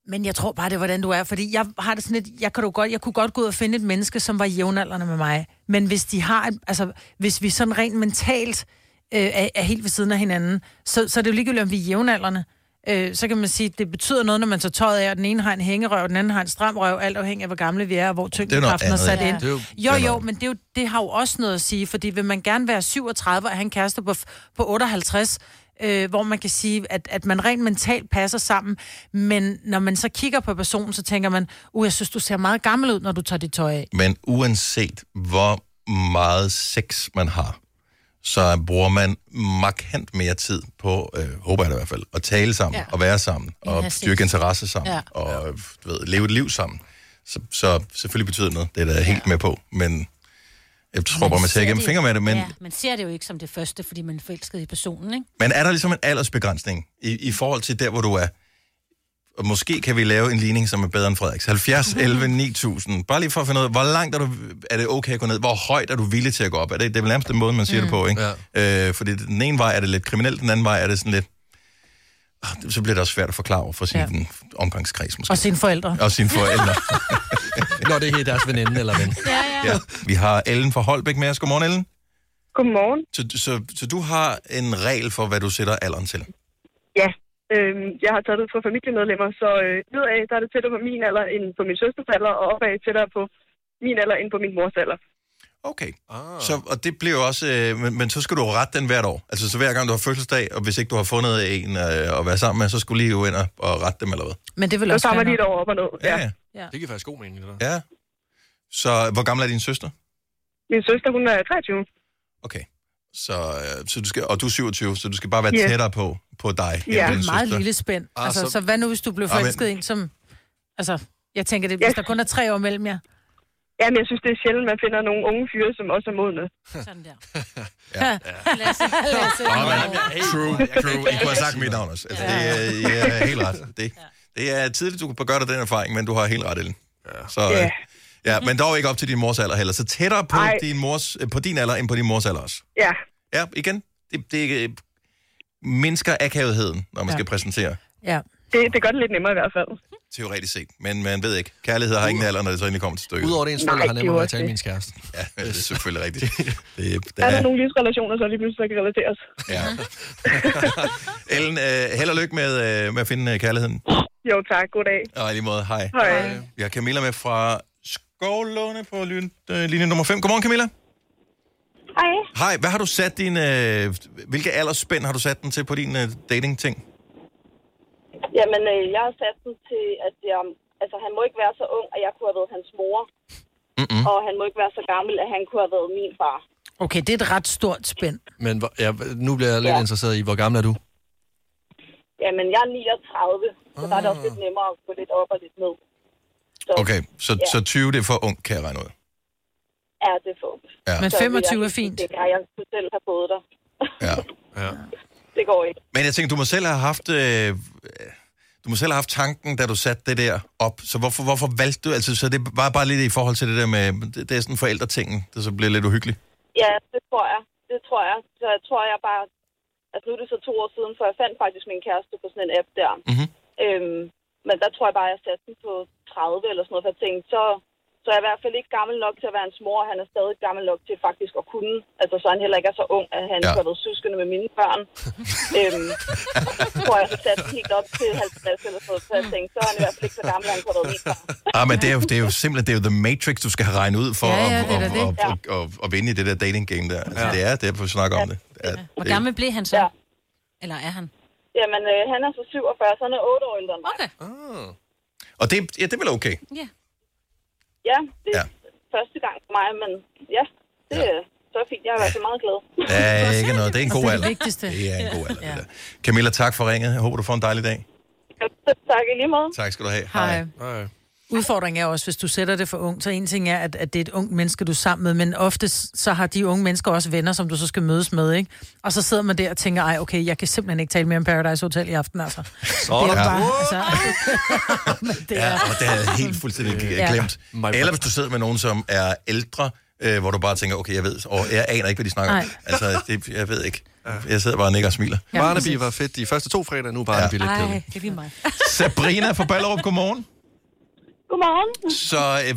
Men jeg tror bare, det er, hvordan du er. Fordi jeg har det sådan lidt, jeg, kan jo godt, jeg kunne godt gå ud og finde et menneske, som var jævnaldrende med mig. Men hvis de har, et- altså, hvis vi sådan rent mentalt øh, er, er, helt ved siden af hinanden, så, så er det jo ligegyldigt, om vi er jævnaldrende. Øh, så kan man sige, det betyder noget, når man tager tøjet af, og den ene har en hængerøv, og den anden har en stram røv, alt afhængig af, hvor gamle vi er, og hvor tyngdekraften er,
noget
sat
andet, ja.
ind.
Det er jo- det
Jo,
er noget
jo,
andet.
men det, er jo, det har jo også noget at sige, fordi vil man gerne være 37 og have en kæreste på, f- på 58, øh, hvor man kan sige, at, at man rent mentalt passer sammen, men når man så kigger på personen, så tænker man, uh, jeg synes, du ser meget gammel ud, når du tager dit tøj af.
Men uanset hvor meget sex man har, så bruger man markant mere tid på, øh, håber jeg da i hvert fald, at tale sammen,
Ja.
ja. og være sammen,
End at have
og
sex.
styrke interesse sammen,
Ja.
ja. og øh, du ved, leve et liv sammen. Så, så selvfølgelig betyder det noget, det er jeg da helt med på, men jeg tror bare, man tager igennem fingre med det, men,
Ja, man ser det jo ikke som det første, fordi man er forelsket i personen, ikke?
men er der ligesom en aldersbegrænsning i, i forhold til der, hvor du er? Og måske kan vi lave en ligning, som er bedre end Frederiks. 70,
Mhm.
11, 9000. Bare lige for at finde ud af, hvor langt er, du, er det okay at gå ned? Hvor højt er du villig til at gå op? Er det, det er vel nærmest den måde, man siger mm. det på, ikke? Ja. Øh, fordi den ene vej er det lidt kriminelt, den anden vej er det sådan lidt... Ah, Så bliver det også svært at forklare for sin
Ja.
ja. omgangskreds, måske.
Og sine forældre.
Og sine forældre.
Når det er deres veninde eller ven.
Ja,
ja. Vi har Ellen fra Holbæk med os. Godmorgen, Ellen.
Godmorgen.
Så, så, så du har en regel for, hvad du sætter alderen til?
Ja, øh, jeg har taget det ud fra familiemedlemmer, så øh, nedad der er det tættere på min alder end på min søsters alder, og opad tættere på min alder end på min mors alder.
Okay. Ah. Så, og det bliver jo også, øh, men, men så skal du jo rette den hvert år. Altså så hver gang du har fødselsdag, og hvis ikke du har fundet en øh, at være sammen med, så skulle lige jo ind og, og rette dem eller hvad.
Men det vil
Så
også
tager man
være
lige et
nok.
år op og ned. Ja.
ja.
Ja.
Det giver faktisk god mening, det der.
ja. Så hvor gammel er din søster?
Min søster, hun er 23.
Så, øh, så du skal, og du er 27, så du skal bare være
Yes.
tættere på, på dig. end
Ja, det
din
er et meget
søster.
lille spænd.
Ah,
altså, så...
så-
så hvad nu, hvis du blev
Ah, men-
forelsket i en som... Altså, jeg tænker, det, hvis der kun er tre år mellem jer.
Jamen, jeg synes, det er sjældent, man finder nogle unge fyre, som også er modne.
Sådan der. ja. ja. Lasse, Lasse.
Nå, men, true, true. I kunne have sagt mit navn også. Altså, det er, I er helt ret. Det, det er tidligt, du kan gøre dig den erfaring, men du har helt ret, Ellen. Så, øh,
Ja.
ja, men dog ikke op til din mors alder heller. Så tættere på,
Ej.
din, mors, øh, på din alder, end på din mors alder også.
Ja,
Ja, igen. Det, det øh, mindsker akavigheden, når man
Ja.
ja. skal præsentere,
ja.
Det, det gør det lidt nemmere i hvert fald.
teoretisk set. Men man ved ikke. Kærlighed har ingen alder, når det så endelig kommer til stykket.
Udover det, ens
Nej,
forældre har
det er
nemmere
jo
ved at
også
tale
det.
med ens kæreste.
Ja, det er selvfølgelig rigtigt. Det, der
Er der
er,
nogle livsrelationer, så lige pludselig der kan relateres?
ja. Ellen, øh, held og lykke med, øh, med at finde øh, kærligheden.
Jo, tak. God dag.
Og i lige måde, hej.
Hej.
Vi har Camilla med fra Skovlåne på lyn, øh, linje nummer 5. Godmorgen, Camilla.
Hej.
Hej, hvad har du sat din... Øh, hvilke aldersspænd har du sat den til på din øh, dating-ting?
Jamen, øh, jeg har sat den til, at jeg, altså, han må ikke være så ung, at jeg kunne have været hans mor.
Mm.
Mm-mm. Og han må ikke være så gammel, at han kunne have været min far.
Okay, det er et ret stort spænd.
Men hvor- ja, nu bliver jeg lidt
Ja.
ja. interesseret i, hvor gammel er du?
Jamen, jeg er 39, så der er det også lidt nemmere at gå lidt op og lidt ned.
Okay, så,
Ja.
så 20 det er for ung, kan jeg regne ud.
Ja, det er fugt.
Ja. Men
25 er fint.
Det jeg skulle selv have fået dig.
Ja.
Det går ikke.
Men jeg tænker, du må selv have haft... Øh, øh, du må selv have haft tanken, da du satte det der op. Så hvorfor, hvorfor valgte du... Altså, så det var bare lidt i forhold til det der med... Det, det er sådan forældretingen, der så bliver lidt uhyggeligt.
Ja, det tror jeg. Det tror jeg. Så jeg tror, jeg bare... Altså, nu er det så to år siden, for jeg fandt faktisk min kæreste på sådan en app der.
Mm-hmm.
Øhm, men der tror jeg bare, jeg satte den på 30 eller sådan noget, for jeg tænkte, så, så er jeg i hvert fald ikke gammel nok til at være hans mor, og han er stadig gammel nok til faktisk at kunne. Altså, så han heller ikke er så ung, at han ja. har været søskende med mine børn. øhm, så tror jeg, jeg satte den helt op til 50 eller sådan noget, så jeg tænkte, så er han i hvert fald ikke så gammel, at han kunne have været min barn.
Ah, men det er, jo, det er jo simpelthen det er jo The Matrix, du skal have regnet ud for
Ja,
at
ja, det er da
at-
det.
at- at- at- at vinde i det der dating game der. Altså, Det er derfor, vi snakker om det. Ja,
Hvor
det
gammel blev han så? Ja. Eller er han?
Jamen, øh, han er så 47, så han er 8 år ældre end mig. Okay.
Ah. og det, ja, det er vel okay.
Ja. Ja, det er
Ja.
ja. første gang for mig, men ja, det, ja. så er fint. Jeg har været så meget glad.
Det er ikke noget. Det er en god alder.
vigtigste.
Det er en god alder, det der. Camilla, tak for ringet. Jeg håber, du får en dejlig dag.
Tak i lige måde.
Tak skal du have.
Hej.
Hej.
Udfordringen er også, hvis du sætter det for ungt, så en ting er, at, at det er et ungt menneske, du er sammen med, men ofte så har de unge mennesker også venner, som du så skal mødes med, ikke? Og så sidder man der og tænker, ej, okay, jeg kan simpelthen ikke tale mere om Paradise Hotel i aften, altså.
Sådan.
Det er bare,
Wow.
altså, det
Ja,
er,
og det havde jeg helt fuldstændig
Ja.
g- glemt. Eller hvis du sidder med nogen, som er ældre, øh, hvor du bare tænker, okay, jeg ved, og jeg aner ikke, hvad de snakker om.
Nej.
Altså, det, jeg ved ikke. Jeg sidder bare og nikker og smiler.
Ja, Barnaby præcis. var fedt de første to fredage, nu er Barnaby ja. lidt kedelig.
Ej, det er lige mig.
Sabrina fra Ballerup, godmorgen.
Godmorgen.
Så øh,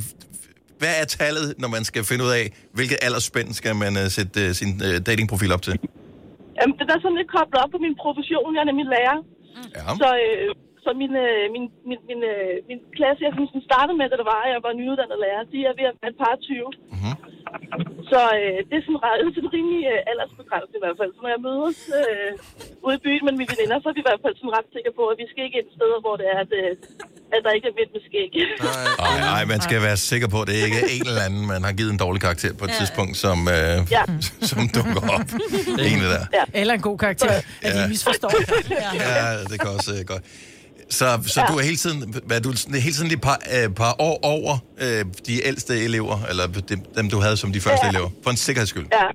hvad er tallet, når man skal finde ud af, hvilket aldersspænd skal man øh, sætte øh, sin øh, datingprofil op til?
Jamen, det er sådan lidt koblet op på min profession. Jeg er nemlig lærer.
Ja.
Så, øh, så min, øh, min, min, min, øh, min klasse, jeg sådan startede med, da det var, at jeg var nyuddannet lærer, de er ved at være et par 20. Mm-hmm.
Mhm.
Så øh, det er sådan, ret- det er sådan rimelig øh, aldersbegrænset i hvert fald. Så når jeg mødes øh, ude i byen med mine veninder, så er vi i hvert fald sådan ret sikre på, at vi skal ikke et sted, hvor det er, at, øh, at der ikke er vidt med skæg.
Nej, nej, man skal være sikker på, at det ikke er en eller anden, man har givet en dårlig karakter på et tidspunkt, som, øh,
Ja.
som dukker op. En af der.
Eller en god karakter, at
Ja.
de misforstår.
Ja, det kan også øh, godt. Så, så du er hele tiden, hvad, er du sådan- hele tiden et par, øh, par år over øh, de ældste elever, eller dem, dem, du havde som de første
Ja.
elever, for en sikkerheds skyld.
ja,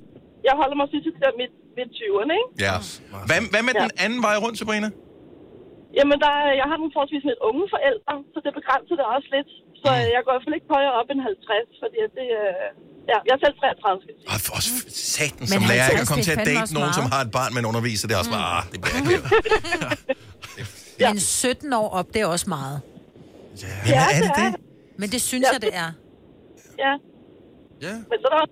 jeg holder mig synes, til midt, midt 20'erne, ikke?
Ja. Hvad, hvad med den anden vej rundt, Sabrina?
Jamen, der, er- jeg har nogle forholdsvis lidt unge forældre, så det begrænser det også lidt. Så
Mm.
øh, jeg går i hvert fald ikke højere op end 50, fordi at det... Øh, ja, jeg er selv 33, skal jeg sige. Mm.
Og for s- satan,
Men
som lærer, jeg
50,
kan komme
det
til
er
at
fandme
date
også
nogen, som
meget.
har et barn med en underviser. Det er også bare, ah, det bliver ikke heller.
Men 17 år op, det er også meget.
Men er det det?
Men det synes jeg, det er.
Ja.
Ja.
Men så er der,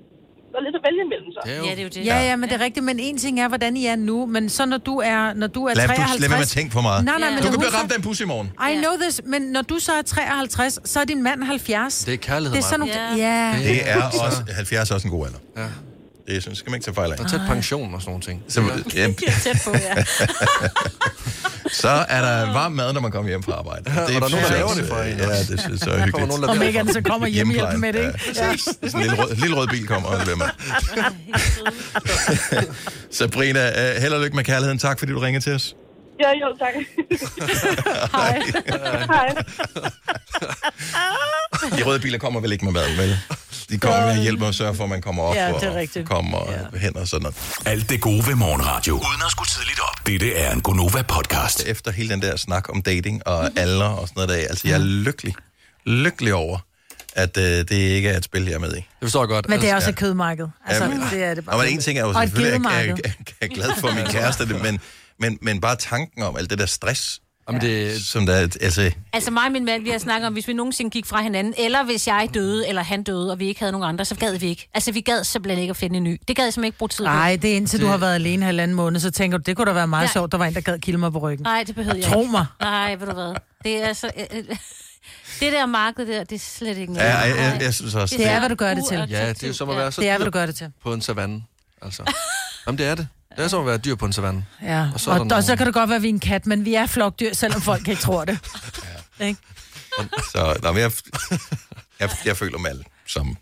der er lidt at vælge imellem, så.
Ja, det er jo det. Ja, ja, men det er rigtigt. Men en ting er, hvordan I er nu, men så når du er, når du er
Lad, du,
53...
lad være med at tænke for meget.
Nej, nej, men
du
når
kan
hun
blive
så-
ramt af en pus i morgen.
I know this, men når du så er 53, så er din mand 70.
Det er kærlighed,
Det er sådan nogle...
Maja.
Ja. ja.
Det er også, 70 er også en god alder. Ja. Det synes, skal man ikke tage fejl af.
Og tæt pension og sådan nogle ting.
Så, ja.
Tæt på, ja.
så er der varm mad, når man kommer hjem fra arbejde.
og der er nogen, der
synes jeg
laver
også,
det for en
Ja,
også.
det synes jeg
Der
så er
kommer
hyggeligt.
nogen, der Om laver
ikke det. andet, så kommer hjemmehjælpen
Hjemmeplejen,
med det, ikke?
Ja, præcis. Det er sådan en lille rød, lille rød bil kommer og leverer mad. Sabrina, øh, held og lykke med kærligheden. Tak, fordi du ringede til os.
Ja, jo, tak. Hej. Hej.
De røde biler kommer vel ikke med mad, vel? De kommer med hjælp og sørger for, at man kommer op
Ja, det er
og
rigtigt.
kommer hen og sådan noget.
Alt det gode ved morgenradio. Uden at skulle tidligt op. Dette er en Gonova-podcast.
Efter hele den der snak om dating og
Mhm.
alder og sådan noget der. Altså, jeg er lykkelig, lykkelig over, at øh, det ikke er et spil, jeg er med i. Det
forstår jeg godt.
Men det er også et kødmarked. Altså, det er det bare.
Nå, men en ting er jo
Og et
selvfølgelig, at jeg, jeg,
gedemarked.
jeg, jeg er glad for min kæreste, det, men, men, men bare tanken om alt det der stress,
Jamen, det,
som der, er- altså,
Altså mig og min mand, vi har snakket om, hvis vi nogensinde gik fra hinanden, eller hvis jeg døde, eller han døde, og vi ikke havde nogen andre, så gad vi ikke. Altså vi gad simpelthen ikke at finde en ny. Det gad jeg simpelthen ikke bruge tid på.
Nej, det er indtil du har været alene halvanden måned, så tænker du, det kunne da være meget
Nej.
sjovt, der var en, der gad kilde mig på ryggen.
Nej, det behøver jeg
Tro
ikke.
mig.
Nej, ved du hvad. Det er så... øh, øh, Det der marked der, det er slet ikke noget.
Ja, jeg- jeg-
Nej.
jeg synes også,
Det er,
det-
hvad du gør det til.
Ja, det er jo som at være så
Det er, hvad
dyr
du gør det til.
på en savanne. Altså. Jamen, det er det. Det er som at være dyr på en savanne.
Ja,
Og
og
så
så,
er der
og,
nogle-
og så kan det godt være, at vi er en kat, men vi er flokdyr, selvom folk ikke tror det. Ikke?
så nå, men jeg, jeg, jeg føler med alle, som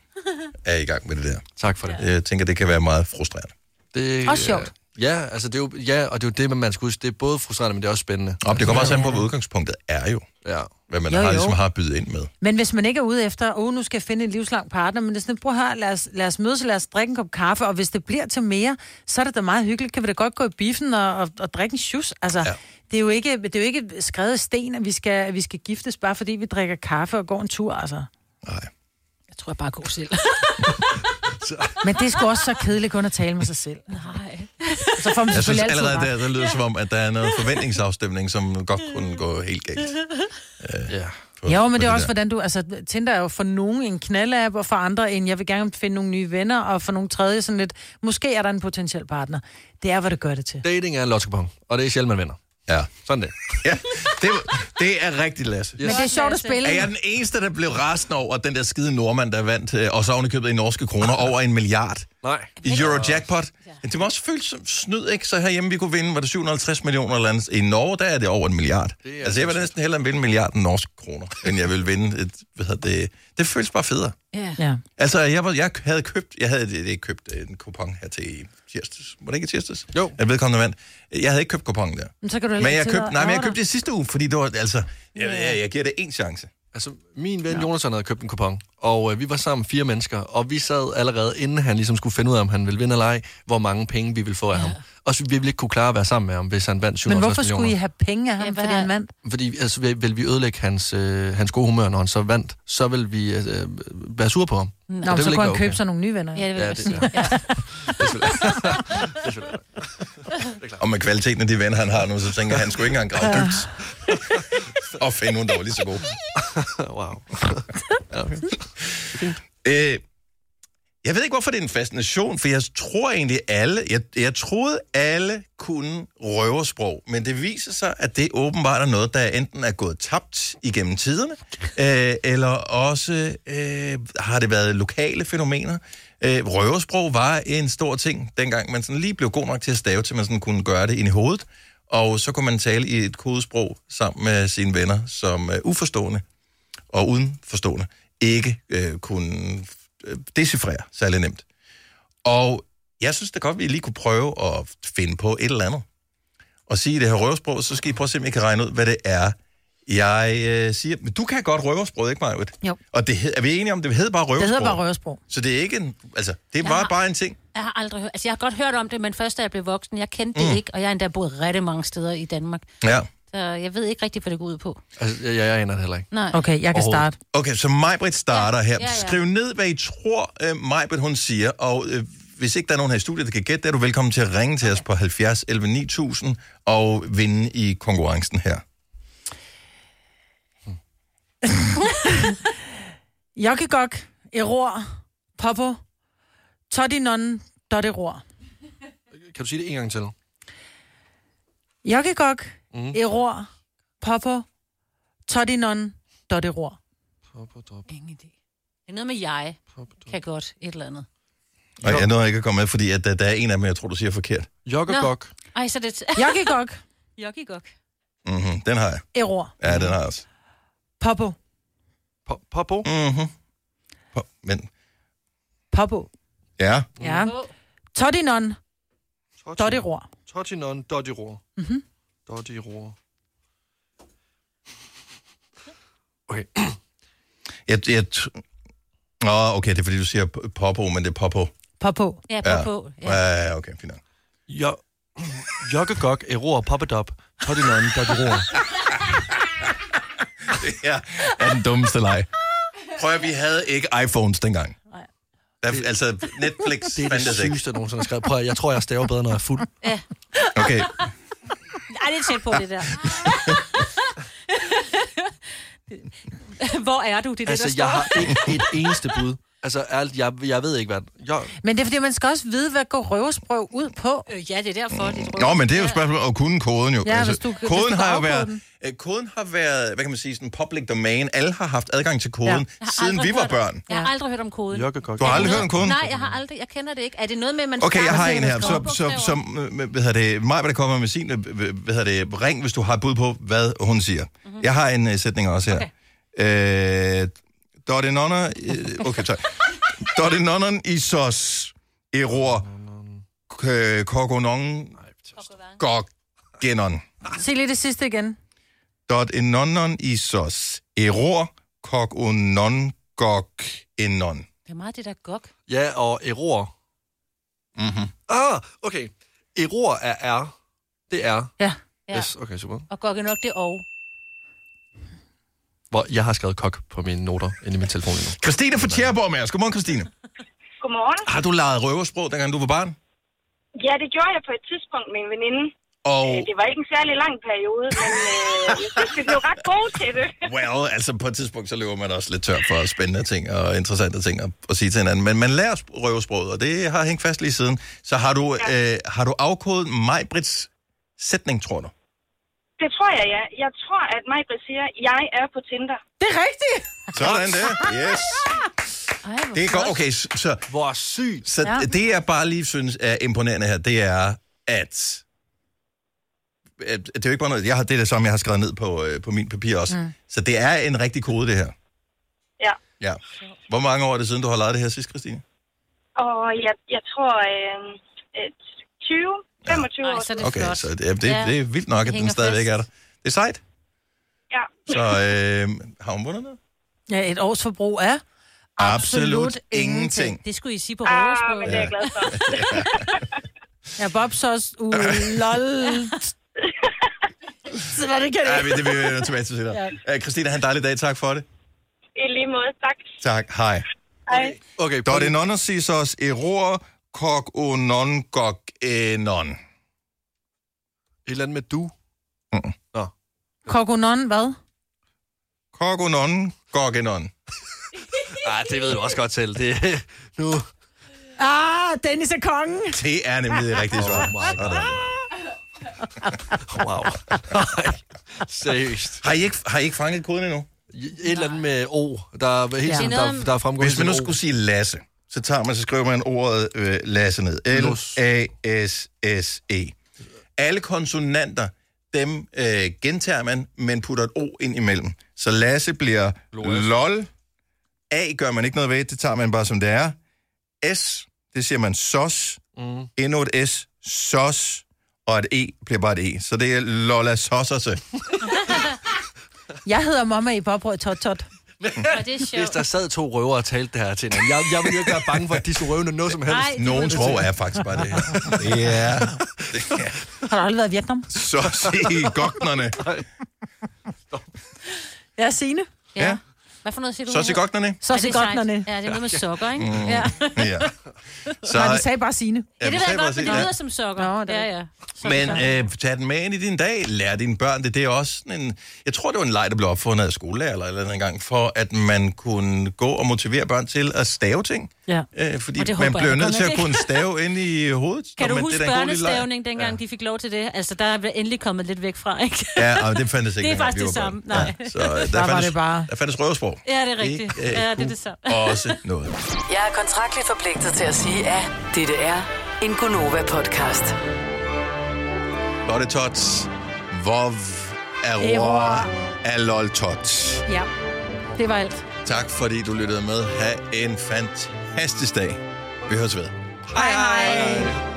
er i gang med det der.
Tak for det.
Jeg tænker, det kan være meget frustrerende.
Det,
Også sjovt.
øh,
Ja, altså det er jo, ja, og det er jo det, man skal huske. Det er både frustrerende, men det er også spændende. Altså,
Og det kommer også an på, hvad udgangspunktet er jo.
Ja.
Hvad man
Jo,
jo, har,
jo.
ligesom har at byde ind med.
Men hvis man ikke er ude efter, åh, oh, nu skal jeg finde en livslang partner, men det er sådan, prøv her, lad os, lad os mødes, og lad os drikke en kop kaffe, og hvis det bliver til mere, så er det da meget hyggeligt. Kan vi da godt gå i biffen og, og, og drikke en shoes? Altså, ja. det, er jo ikke, det er jo ikke skrevet i sten, at vi skal, at vi skal giftes, bare fordi vi drikker kaffe og går en tur, altså. Nej. Jeg tror, jeg bare går selv. men det er sgu også så kedeligt kun at tale med sig selv. Nej. Så får man
Jeg synes
selvfølgelig altid
allerede,
ret.
der, der lyder som om, at der er noget forventningsafstemning, som godt kunne gå helt galt. Øh.
Ja.
Jo, men det er også,
der.
hvordan du... Altså, Tinder er jo for nogen en knaldapp, og for andre en, jeg vil gerne finde nogle nye venner, og for nogle tredje sådan lidt, måske er der en potentiel partner. Det er, hvad det gør det til.
Dating er en lotto og det er sjældent, man vinder.
Ja.
Sådan det.
Ja, det, det er rigtigt, Lasse.
Men det er sjovt at spille.
Er jeg den eneste, der blev rasende over den der skide nordmand, der vandt, øh, og så ovenikøbet i norske kroner, over en milliard?
Nej.
I Eurojackpot? Det må også føles som snyd, ikke? Så herhjemme, vi kunne vinde, var det 750 millioner eller andet. I Norge, der er det over en milliard.
Det
Det
er
altså, jeg vil næsten hellere vinde en milliard end norske kroner, end jeg vil vinde et, hvad hedder det, det føles bare federe.
Ja. ja.
Altså, jeg, var, jeg havde købt, jeg havde det, det købt øh, en kupon her til i tirsdags. Var det ikke i tirsdags? Jo. Jeg vedkommende vand. Jeg havde ikke købt kuponen der.
Men så kan du heller
Men jeg
ikke sidde
købte,
og
nej, men jeg
ærgre
købte det sidste uge, fordi det var, altså, jeg, jeg, jeg giver det en chance.
Altså, min ven ja. Jonathan havde købt en kupon, og øh, vi var sammen fire mennesker, og vi sad allerede, inden han ligesom skulle finde ud af, om han ville vinde eller ej, hvor mange penge vi ville få af ja. ham. Og så vi ville ikke kunne klare at være sammen med ham, hvis han vandt
Men
750
hvorfor skulle I have penge af ham, fordi han vandt?
Fordi altså, vil, vil vi ødelægge hans, øh, hans gode humør, når han så vandt, så vil vi øh, være sur på ham. Og
Nå,
det
men
vil
så
ikke
kunne
være
han købe
okay.
sig nogle nye venner.
Ja, det vil Ja, jeg det- sige.
Og med kvaliteten af de venner, han har nu, så tænker jeg, han skulle ikke engang grave dybt. og finde nogen, der var lige så gode.
wow.
Øh, jeg ved ikke, hvorfor det er en fascination, for jeg tror egentlig alle, jeg, jeg troede alle kunne røversprog, men det viser sig, at det åbenbart er noget, der enten er gået tabt igennem tiderne, øh, eller også øh, har det været lokale fænomener. Øh, røversprog var en stor ting, dengang man sådan lige blev god nok til at stave, til man sådan kunne gøre det ind i hovedet, og så kunne man tale i et kodesprog sammen med sine venner, som øh, uforstående og uden forstående ikke øh, kunne øh, decifrere særlig nemt. Og jeg synes da godt, vi lige kunne prøve at finde på et eller andet. Og sige det her røversprog, så skal I prøve at se, om I kan regne ud, hvad det er, jeg øh, siger. Men du kan godt røversprog, ikke Majwit?
Jo.
Og det hed, er vi enige om, det hed bare røversprog?
Det hedder bare røversprog.
Så det er ikke en, altså, det
Jeg
var
har-
bare en ting.
Jeg har aldrig hørt, altså jeg har godt hørt om det, men først da jeg blev voksen, jeg kendte det
Mm.
ikke, og jeg har endda boet rigtig mange steder i Danmark.
Ja.
Så jeg ved ikke rigtig, hvad det går ud på.
Altså, jeg, jeg aner det heller ikke.
Nej.
Okay, jeg kan starte.
Okay, så Majbrit starter ja. her.
ja, ja.
Skriv ned, hvad I tror, øh, Majbrit hun siger, og øh, hvis ikke der er nogen her i studiet, der kan gætte det, er du velkommen til at ringe til os på 70 11 9000 og vinde i konkurrencen her.
Jokkegok, eror, popo, todinon, dotteror.
Kan du sige det en gang til?
Jokkegok,
Mm.
eror, popo, todinon, dotteror.
Ingen idé. Det er noget med jeg. Kan godt et eller andet.
Og jeg nåede ikke at komme med, fordi at, øh, der, der er en af dem, jeg tror, du siger forkert.
Jokkegok.
Ej, så er det...
Jokkegok,
Jokkigok.
Mm-hmm, den har jeg.
eror,
Ja, den har jeg også.
popo,
Popo?
Mm-hmm. Po- men,
popo.
ja.
Ja. Todinon, dotteror.
Totinon Doddiror.
Mhm.
Doddiror.
Jeg, jeg t- Nå, okay, det er fordi, du siger p- popo, men det er popo.
Popo.
Ja,
popo, Ja, ja, ja, okay, fint. nok.
Jo... Jokkegok, Eror, Poppadop, Totinon, Doddiror.
Det her er den dummeste leg. Prøv at vi havde ikke iPhones dengang. Der, altså, Netflix
Det er det
fandtes ikke.
sygeste, jeg nogensinde har skrevet. Prøv at, jeg tror, jeg staver bedre, når jeg er fuld.
Okay,
Ej, det er tæt på, det der. Hvor er du? Det er
altså,
det, der
jeg
står.
har ikke et eneste bud. Altså, ærligt, jeg, jeg ved ikke, hvad... Jeg,
Men det er fordi, man skal også vide, hvad går røversprøv ud på.
Øh, ja, det er derfor, det er
Nå, men det er jo et spørgsmål om at kunne koden jo. Altså,
Ja, hvis du- hvis
koden
du
har jo
afkoder
været,
den.
øh, koden har været, hvad kan man sige, sådan public domain. Alle har haft adgang til koden,
Jeg
ja.
har
siden
aldrig
vi var
hørt-
børn.
Jeg har aldrig hørt om koden.
Jokkegok.
Du har aldrig
Er det
hørt om
noget- Nej,
koden?
jeg har aldrig. Jeg kender det ikke. Er det noget med, at man
Okay, jeg
starter
har
med
en
at
her, så,
skrive
så,
bogstaver?
som, øh, hvad hedder det, mig, hvad der kommer med sin, øh, hvad hedder det, ring, hvis du har et bud på, hvad hun siger. Mm-hmm. Jeg har en uh, sætning også her. Okay. Øh, Dotte Nonner, øh, okay, tak. Dotte Nonner i sos, eror, øh, Korgonong... Gorgenon.
Se lige det sidste igen.
Dot enonon isos error Korgonon Gorgenon.
Det er meget det der gok.
Ja, og error.
Mm-hmm.
Ah, okay. Error er R. Det er.
Ja. ja.
Yes, okay, super.
Og gok er nok det og.
Hvor jeg har skrevet kok på mine noter inde i min telefon lige nu.
Christine fra Tjæreborg med os. Godmorgen, Christine.
Godmorgen.
Har du leget røversprog, dengang du var barn?
Ja, det gjorde jeg på et tidspunkt med en veninde.
Og
Øh, Det var ikke en særlig lang periode, men øh, jeg synes, vi blev ret gode til det.
well, altså på et tidspunkt, så løber man også lidt tør for spændende ting og interessante ting at, at sige til hinanden. Men man lærer sp- røversproget, og det har hængt fast lige siden. Så har du, øh, har du afkodet Majbrits sætning, tror du?
Det tror jeg, ja. Jeg tror, at Majbrit siger, jeg er på Tinder.
Det er rigtigt!
Sådan der. Yes. Det er godt. Okay, s- så...
Hvor sygt.
Så
Ja.
ja. det, jeg bare lige synes er imponerende her, det er, at... at- Det er jo ikke bare noget... Jeg har, det er det samme, jeg har skrevet ned på, øh, på min papir også.
Mm.
Mm. Så det er en rigtig kode, det her.
Ja.
Ja. Hvor mange år er det siden, du har lavet det her sidst, Christine?
Og jeg, jeg tror, øh, øh, 20, 25 år.
så er
okay, så det, det, det, det er vildt nok, at den stadigvæk er der. Det er sejt.
Ja.
Så øh, har hun vundet noget?
Ja, et års forbrug er...
Absolut ingenting.
Det skulle I sige på
Ah,
røversprog.
men det er jeg
glad for.
Ja, Bob så Uh, lol. så var det kan
Ja, men det vil vi vende tilbage til senere. Ja. Øh, Christine, have en dejlig dag. Tak for det.
I lige måde, tak.
Tak. Hej.
Hej.
Okay,
Dot en non os error kok o non gok e non.
Et eller andet med du.
Kokonon, hvad?
Kok o non gok e non.
Ah, det ved du også godt selv. Det, nu.
Ah, Dennis er kongen.
Det er nemlig det rigtige svar. Sådan.
Wow. Seriøst.
Har I ikke, har I ikke fanget koden endnu?
Et eller andet med O. Der er helt
Ja.
tiden,
Det er noget
der,
om-
der er fremgået
Hvis man nu
sådan et O.
skulle sige Lasse, så tager man, så skriver man ordet øh, Lasse ned. L-A-S-S-E. E. Alle konsonanter, dem øh, gentager man, men putter et O ind imellem. Så Lasse bliver LOL. A gør man ikke noget ved, det tager man bare som det er. S, det siger man SOS.
Mm.
Endnu et S, SOS. Og et E bliver bare et E. Så det er Lola Sossose.
Jeg hedder mamma i Bobrød Tot Tot.
Og det er sjovt.
Hvis der sad to røver og talte det her til hinanden. Jeg, jeg ville jo ikke være bange for, at de skulle røve noget som helst.
Nej, det
Nogen sprog er faktisk bare det her. Det er
Har du aldrig været i Vietnam?
SOS i gognerne.
Jeg er Signe.
Ja.
Hvad for noget siger du?
Sås i gognerne?
Sås i
Ja, det er sejt.
gognerne.
Ja, det er noget med sokker, ikke?
Mm.
Ja.
Ja.
Så... Nej, vi sagde bare Signe.
Ja,
det
vi
ved
sagde
jeg
bare
godt, men det
Signe.
lyder som sokker. Nå, det ja, ja.
Men øh, tag den med ind i din dag. Lær dine børn det. Det er også sådan en... Jeg tror, det var en leg, der blev opfundet af skolelærer eller et eller andet engang, for at man kunne gå og motivere børn til at stave ting.
Ja.
Øh, fordi
Og det
man
håber
blev
jeg
nødt
godt
til
nok
at
ikke.
kunne stave ind i hovedet.
Kan
Nå,
du
men
huske
det er da en god lille leg.
børnestævning, dengang de fik lov til det? Altså, der er endelig kommet lidt væk fra, ikke?
Ja, og det fandtes ikke.
Det er faktisk
dengang vi
det
var
samme,
børn.
nej.
Ja, så øh,
Der
der,
var
fandtes,
det bare-
der fandtes røversprog.
Ja, det er rigtigt.
øh,
Ja, det er
kunne
det samme.
Også noget.
Jeg er kontraktligt forpligtet til at sige, at dette er en Gunova-podcast.
Lotte Tots. Vov. Aurora. Alol Tots.
Ja, det var alt.
Tak fordi du lyttede med. Ha' en fantastisk dag. Vi høres ved.
Hej, hej. hej.